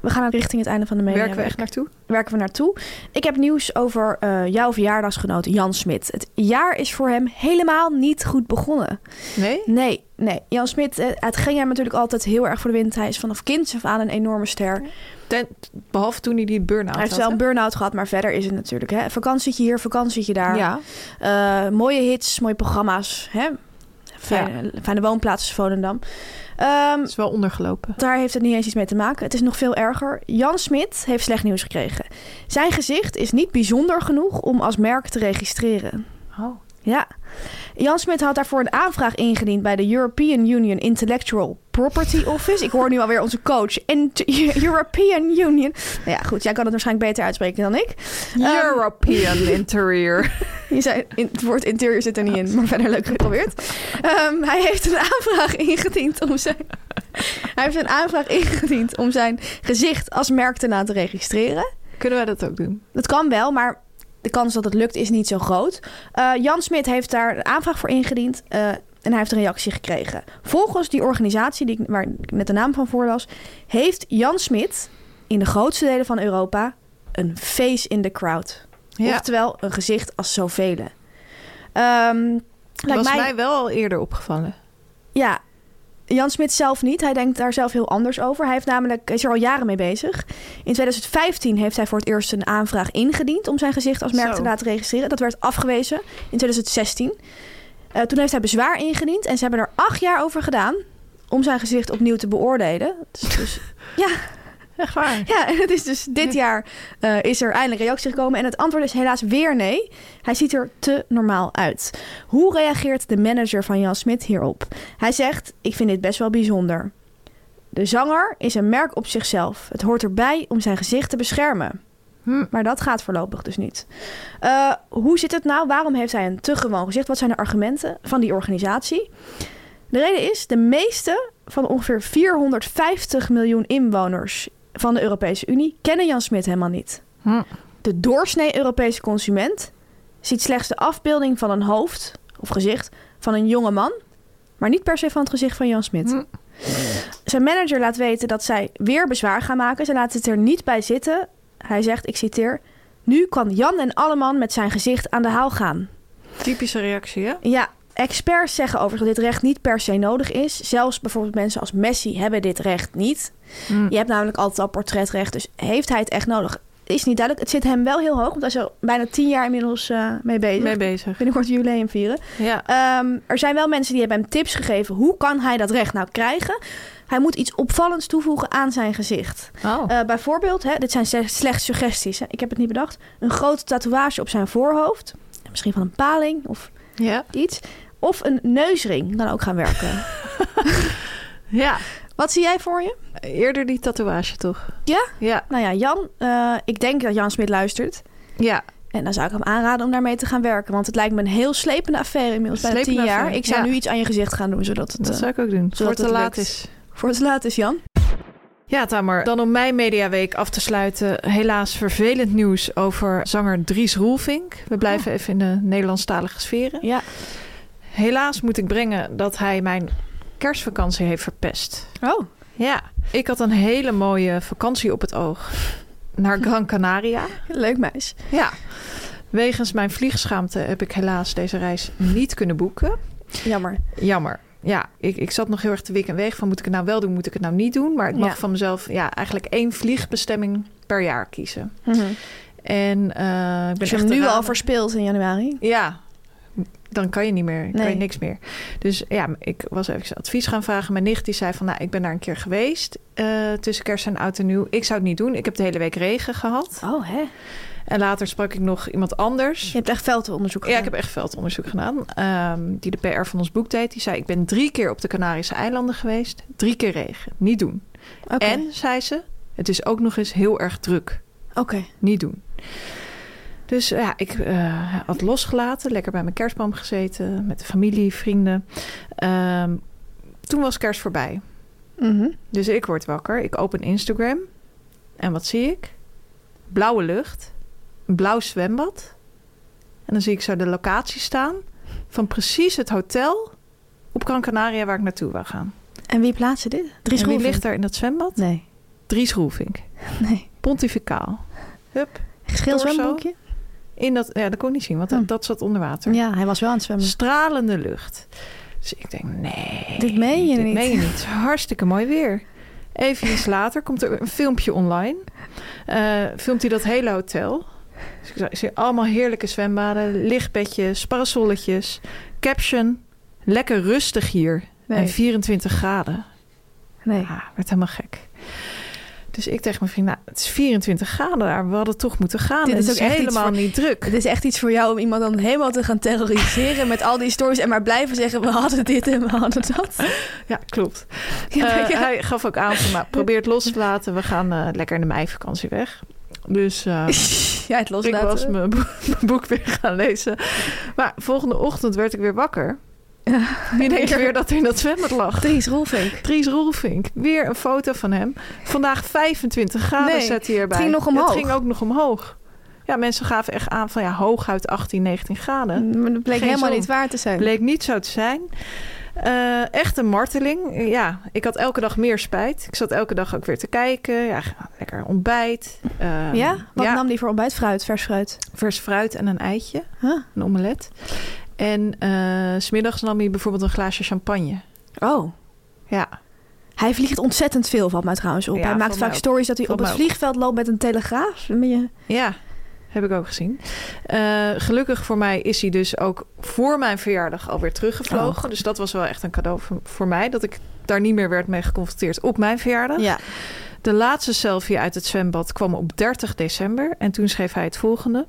S1: We gaan richting het einde van de media.
S2: Werken we echt naartoe?
S1: werken we naartoe. Ik heb nieuws over eh, jouw verjaardagsgenoot Jan Smit. Het jaar is voor hem helemaal niet goed begonnen.
S2: Nee?
S1: Nee, nee. Jan Smit, eh, het ging hem natuurlijk altijd heel erg voor de wind. Hij is vanaf kinds af aan een enorme ster.
S2: Ten, behalve toen hij die burn-out
S1: Hij heeft
S2: had,
S1: wel een
S2: hè?
S1: burn-out gehad, maar verder is het natuurlijk. Hè? Vakantietje hier, vakantietje daar.
S2: Ja.
S1: Eh, mooie hits, mooie programma's. Hè? Fijne, fijne woonplaats, Volendam. Ehm,
S2: Het is wel ondergelopen.
S1: daar heeft het niet eens iets mee te maken. Het is nog veel erger. Jan Smit heeft slecht nieuws gekregen. Zijn gezicht is niet bijzonder genoeg om als merk te registreren.
S2: Oh.
S1: Ja. Jan Smit had daarvoor een aanvraag ingediend bij de European Union Intellectual Property Office. Ik hoor nu alweer onze coach. En *laughs* European Union. Nou ja, goed. Jij kan het waarschijnlijk beter uitspreken dan ik. Ehm,
S2: European *laughs* Interior.
S1: je zei, in, het woord interieur zit er niet in, maar verder leuk geprobeerd. Ehm, hij heeft een aanvraag ingediend om zijn. Hij heeft een aanvraag ingediend om zijn gezicht als merktenaam te registreren.
S2: Kunnen wij dat ook doen?
S1: Dat kan wel, maar de kans dat het lukt is niet zo groot. Eh, Jan Smit heeft daar een aanvraag voor ingediend eh, en hij heeft een reactie gekregen. Volgens die organisatie die ik, waar ik net de naam van voorlas, heeft Jan Smit in de grootste delen van Europa een face in the crowd. Oftewel een gezicht als zoveel. Ehm lijkt
S2: was
S1: mij,
S2: mij... wel al eerder opgevallen.
S1: Ja, Jan Smit zelf niet. Hij denkt daar zelf heel anders over. Hij heeft namelijk, is er al jaren mee bezig. In 2015 heeft hij voor het eerst een aanvraag ingediend... om zijn gezicht als merk
S2: Zo.
S1: te laten registreren. Dat werd afgewezen in 2016. Eh, toen heeft hij bezwaar ingediend. En ze hebben er acht jaar over gedaan... om zijn gezicht opnieuw te beoordelen. Dus,
S2: *laughs*
S1: dus ja...
S2: Echt waar?
S1: Ja, en het is dus dit jaar eh, is er eindelijk reactie gekomen. En het antwoord is helaas weer nee. Hij ziet er te normaal uit. Hoe reageert de manager van Jan Smit hierop? Hij zegt, ik vind dit best wel bijzonder. De zanger is een merk op zichzelf. Het hoort erbij om zijn gezicht te beschermen.
S2: Hm.
S1: Maar dat gaat voorlopig dus niet. Eh, hoe zit het nou? Waarom heeft hij een te gewoon gezicht? Wat zijn de argumenten van die organisatie? De reden is, de meeste van ongeveer 450 miljoen inwoners van de Europese Unie kennen Jan Smit helemaal niet.
S2: Hm.
S1: De doorsnee Europese consument ziet slechts de afbeelding van een hoofd of gezicht van een jonge man, maar niet per se van het gezicht van Jan Smit.
S2: Hm.
S1: Zijn manager laat weten dat zij weer bezwaar gaan maken. Ze laat het er niet bij zitten. Hij zegt, ik citeer, nu kan Jan en Alleman met zijn gezicht aan de haal gaan.
S2: Typische reactie, hè?
S1: Ja, experts zeggen overigens dat dit recht niet per se nodig is. Zelfs bijvoorbeeld mensen als Messi hebben dit recht niet.
S2: Mm.
S1: Je hebt namelijk altijd al portretrecht, dus heeft hij het echt nodig? Is niet duidelijk. Het zit hem wel heel hoog, want hij is er bijna tien jaar inmiddels eh, mee bezig.
S2: Mee bezig.
S1: Binnenkort jubileum vieren.
S2: Ja.
S1: Ehm, er zijn wel mensen die hebben hem tips gegeven. Hoe kan hij dat recht nou krijgen? Hij moet iets opvallends toevoegen aan zijn gezicht.
S2: Oh.
S1: Eh, bijvoorbeeld, hè, dit zijn se- slechts suggesties. Hè. Ik heb het niet bedacht. Een grote tatoeage op zijn voorhoofd. Misschien van een paling of
S2: ja.
S1: iets. Of een neusring kan ook gaan
S2: *laughs*
S1: werken.
S2: Ja.
S1: Wat zie jij voor je?
S2: Eerder die tatoeage, toch?
S1: Ja?
S2: Ja.
S1: Nou ja, Jan, eh, ik denk dat Jan Smit luistert.
S2: Ja.
S1: En dan zou ik hem aanraden om daarmee te gaan werken. Want het lijkt me een heel slepende affaire inmiddels. Bijna tien
S2: Slepende
S1: jaar.
S2: affaire,
S1: Ik zou
S2: ja.
S1: nu iets aan je gezicht gaan doen, zodat het
S2: Dat
S1: eh,
S2: zou ik ook doen. Voor
S1: zodat
S2: het
S1: het
S2: te laat
S1: lukt.
S2: is.
S1: voor het laat is, Jan.
S2: Ja, Tamer. Dan om mijn mediaweek af te sluiten. Helaas vervelend nieuws over zanger Dries Roelvink. We blijven even in de Nederlandstalige sferen.
S1: Ja.
S2: Helaas moet ik brengen dat hij mijn kerstvakantie heeft verpest.
S1: Oh.
S2: Ja. Ik had een hele mooie vakantie op het oog. Naar Gran Canaria.
S1: Leuk meis.
S2: Ja. Wegens mijn vliegschaamte heb ik helaas deze reis niet kunnen boeken.
S1: Jammer.
S2: Jammer. Ja, ik, ik zat nog heel erg te wik en weeg van moet ik het nou wel doen, moet ik het nou niet doen. Maar ik mag
S1: Ja.
S2: van mezelf ja, eigenlijk één vliegbestemming per jaar kiezen. En eh, ik ben
S1: Als Dus je hem
S2: echt
S1: nu
S2: eraan-
S1: al verspeelt in januari.
S2: Ja, dan kan je niet meer, kan
S1: Nee.
S2: je niks meer. Dus ja, ik was even advies gaan vragen. Mijn nicht die zei van, nou, ik ben daar een keer geweest eh, tussen kerst en oud en nieuw. Ik zou het niet doen. Ik heb de hele week regen gehad.
S1: Oh, hè?
S2: En later sprak ik nog iemand anders.
S1: Je hebt echt veldonderzoek
S2: Ja, ik heb echt veldonderzoek gedaan. ehm, die de PR van ons boek deed. Die zei, ik ben drie keer op de Canarische eilanden geweest. Drie keer regen. Niet doen.
S1: Oké.
S2: En, zei ze, het is ook nog eens heel erg druk.
S1: Oké.
S2: Niet doen. Dus ja, ik eh, had losgelaten. Lekker bij mijn kerstboom gezeten. Met de familie, vrienden. Ehm, toen was kerst voorbij.
S1: Mhm.
S2: Dus ik word wakker. Ik open Instagram. En wat zie ik? Blauwe lucht. Een blauw zwembad. En dan zie ik zo de locatie staan. Van precies het hotel op Gran Canaria waar ik naartoe wil gaan.
S1: En wie plaatsen dit? Drie
S2: en wie
S1: schoenen.
S2: ligt daar in dat zwembad?
S1: Nee. *laughs*
S2: Dries Roelvink.
S1: Nee.
S2: Pontificaal. Hup.
S1: Geel
S2: Torso?
S1: zwembroekje?
S2: In dat, ja, dat kon ik niet zien, want dat,
S1: Hm.
S2: dat zat onder water.
S1: Ja, hij was wel aan het zwemmen.
S2: Stralende lucht. Dus ik denk, nee.
S1: Dit meen je
S2: dit
S1: niet.
S2: meen je
S1: *laughs*
S2: niet. Hartstikke mooi weer. Even iets later komt er een filmpje online. Eh, filmt hij dat hele hotel. Dus ik zag- ik zie allemaal heerlijke zwembaden, lichtbedjes, parasolletjes. Caption, lekker rustig hier.
S1: Nee.
S2: En 24 graden.
S1: Nee.
S2: Ja, werd helemaal gek. Dus ik tegen mijn vriend, nou, het is 24 graden daar. We hadden toch moeten gaan.
S1: Dit
S2: En
S1: is
S2: het
S1: ook echt iets
S2: helemaal
S1: voor-
S2: niet druk.
S1: Het is echt iets voor jou om iemand dan helemaal te gaan terroriseren met al die stories en maar blijven zeggen we hadden dit en we hadden dat.
S2: Ja,
S1: *laughs*
S2: klopt.
S1: Ja,
S2: Eh,
S1: ja.
S2: Hij gaf ook aan van, nou, probeer het los te laten. We gaan eh, lekker in de meivakantie weg. Dus eh,
S1: *laughs* Ja, het
S2: ik
S1: loslaten.
S2: was mijn bo- mijn boek *laughs* weer gaan lezen. Maar volgende ochtend werd ik weer wakker. Wie denk je weer dat hij in dat zwembad
S1: *laughs*
S2: lag?
S1: Dries Roelvink.
S2: Dries Roelvink, weer een foto van hem. Vandaag 25 graden
S1: Nee,
S2: zet hij erbij.
S1: het ging nog omhoog.
S2: Het ging ook nog omhoog. Ja, mensen gaven echt aan van ja, hooguit 18, 19 graden.
S1: Mm, Maar dat bleek
S2: Geen
S1: helemaal
S2: zon.
S1: niet waar te zijn.
S2: Bleek niet zo te zijn. Eh, echt een marteling. Ja, ik had elke dag meer spijt. Ik zat elke dag ook weer te kijken. Ja, lekker ontbijt. Eh,
S1: ja? Wat nam die voor ontbijt? Fruit, vers fruit.
S2: Vers fruit en een eitje.
S1: Huh?
S2: Een omelet. En eh, 's smiddags nam hij bijvoorbeeld een glaasje champagne.
S1: Oh.
S2: Ja,
S1: Hij vliegt ontzettend veel, valt mij trouwens op.
S2: Ja,
S1: hij maakt
S2: van
S1: vaak
S2: mij ook.
S1: stories dat hij
S2: Van
S1: op het
S2: mij ook.
S1: vliegveld loopt met een telegraaf. Ben je...
S2: ja. Heb ik ook gezien. Eh, gelukkig voor mij is hij dus ook voor mijn verjaardag alweer teruggevlogen. Dus dat was wel echt een cadeau voor, voor mij. Dat ik daar niet meer werd mee geconfronteerd op mijn verjaardag. *laughs*
S1: Ja.
S2: De laatste selfie uit het zwembad kwam op 30 december en toen schreef hij het volgende.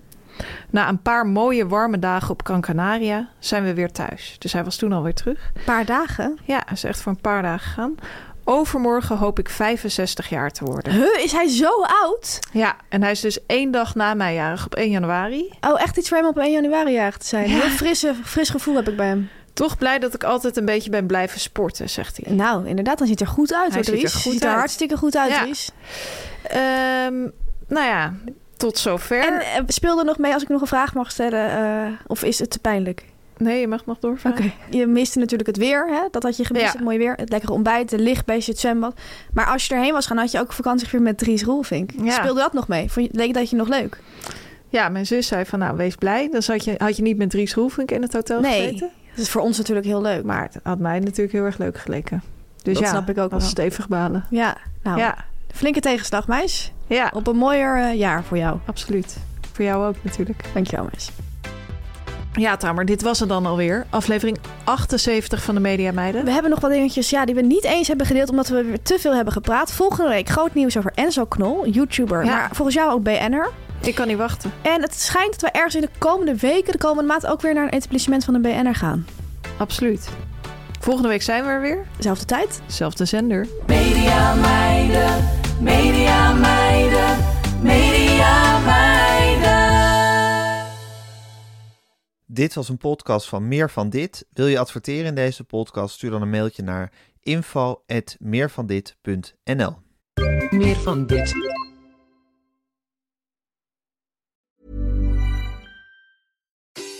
S2: Na een paar mooie warme dagen op Gran Canaria zijn we weer thuis. Dus hij was toen alweer terug.
S1: Een paar dagen.
S2: Ja, hij is echt voor een paar dagen gegaan. Overmorgen hoop ik 65 jaar te worden.
S1: Huh, is hij zo oud?
S2: Ja, en hij is dus één dag na mijn jarig op 1 januari.
S1: Oh, echt iets voor hem op 1 januari jarig te zijn. Heel frisse, fris gevoel heb ik bij hem.
S2: Toch blij dat ik altijd een beetje ben blijven sporten, zegt hij.
S1: Nou, inderdaad, dan ziet hij er goed uit,
S2: Hij
S1: hoor,
S2: ziet er
S1: Dries.
S2: goed
S1: ziet er
S2: uit.
S1: hartstikke goed uit,
S2: Ja.
S1: Dries.
S2: Ehm, nou ja, tot zover.
S1: En eh, speel er nog mee als ik nog een vraag mag stellen. eh, of is het te pijnlijk?
S2: Nee, je mag nog doorvragen.
S1: Je miste natuurlijk het weer, hè? dat had je gemist,
S2: Ja.
S1: het mooie weer. Het lekkere ontbijt, de lichtbeestje, het zwembad. Maar als je erheen was gaan, had je ook vakantie weer met Dries Roelvink.
S2: Ja.
S1: Speelde dat nog mee? Vond je, leek dat je nog leuk?
S2: Ja, mijn zus zei van nou, wees blij. Dan zat je, had je niet met Dries Roelvink in het hotel
S1: nee,
S2: gezeten.
S1: dat is voor ons natuurlijk heel leuk.
S2: Maar het had mij natuurlijk heel erg leuk geleken. Dus
S1: Dat
S2: ja,
S1: snap ik ook
S2: was
S1: wel.
S2: stevig balen.
S1: Ja, nou,
S2: Ja,
S1: flinke tegenslag, meis.
S2: ja,
S1: Op een mooier eh, jaar voor jou.
S2: absoluut. Voor jou ook natuurlijk.
S1: Dankjewel, meis.
S2: Ja, Tamer, dit was het dan alweer. Aflevering 78 van de Media Meiden.
S1: We hebben nog wat dingetjes ja, die we niet eens hebben gedeeld... omdat we weer te veel hebben gepraat. Volgende week groot nieuws over Enzo Knol, YouTuber.
S2: Ja.
S1: Maar volgens jou ook BN'er.
S2: Ik kan niet wachten.
S1: En het schijnt dat we ergens in de komende weken, de komende maand, ook weer naar een etablissement van een BN'er gaan.
S2: Absoluut. Volgende week zijn we er weer.
S1: Zelfde tijd.
S2: Zelfde zender.
S3: Media meiden, media meiden, media meiden.
S4: Dit was een podcast van Meer van Dit. Wil je adverteren in deze podcast? Stuur dan een mailtje naar info.meervandit.nl
S5: Meer van dit.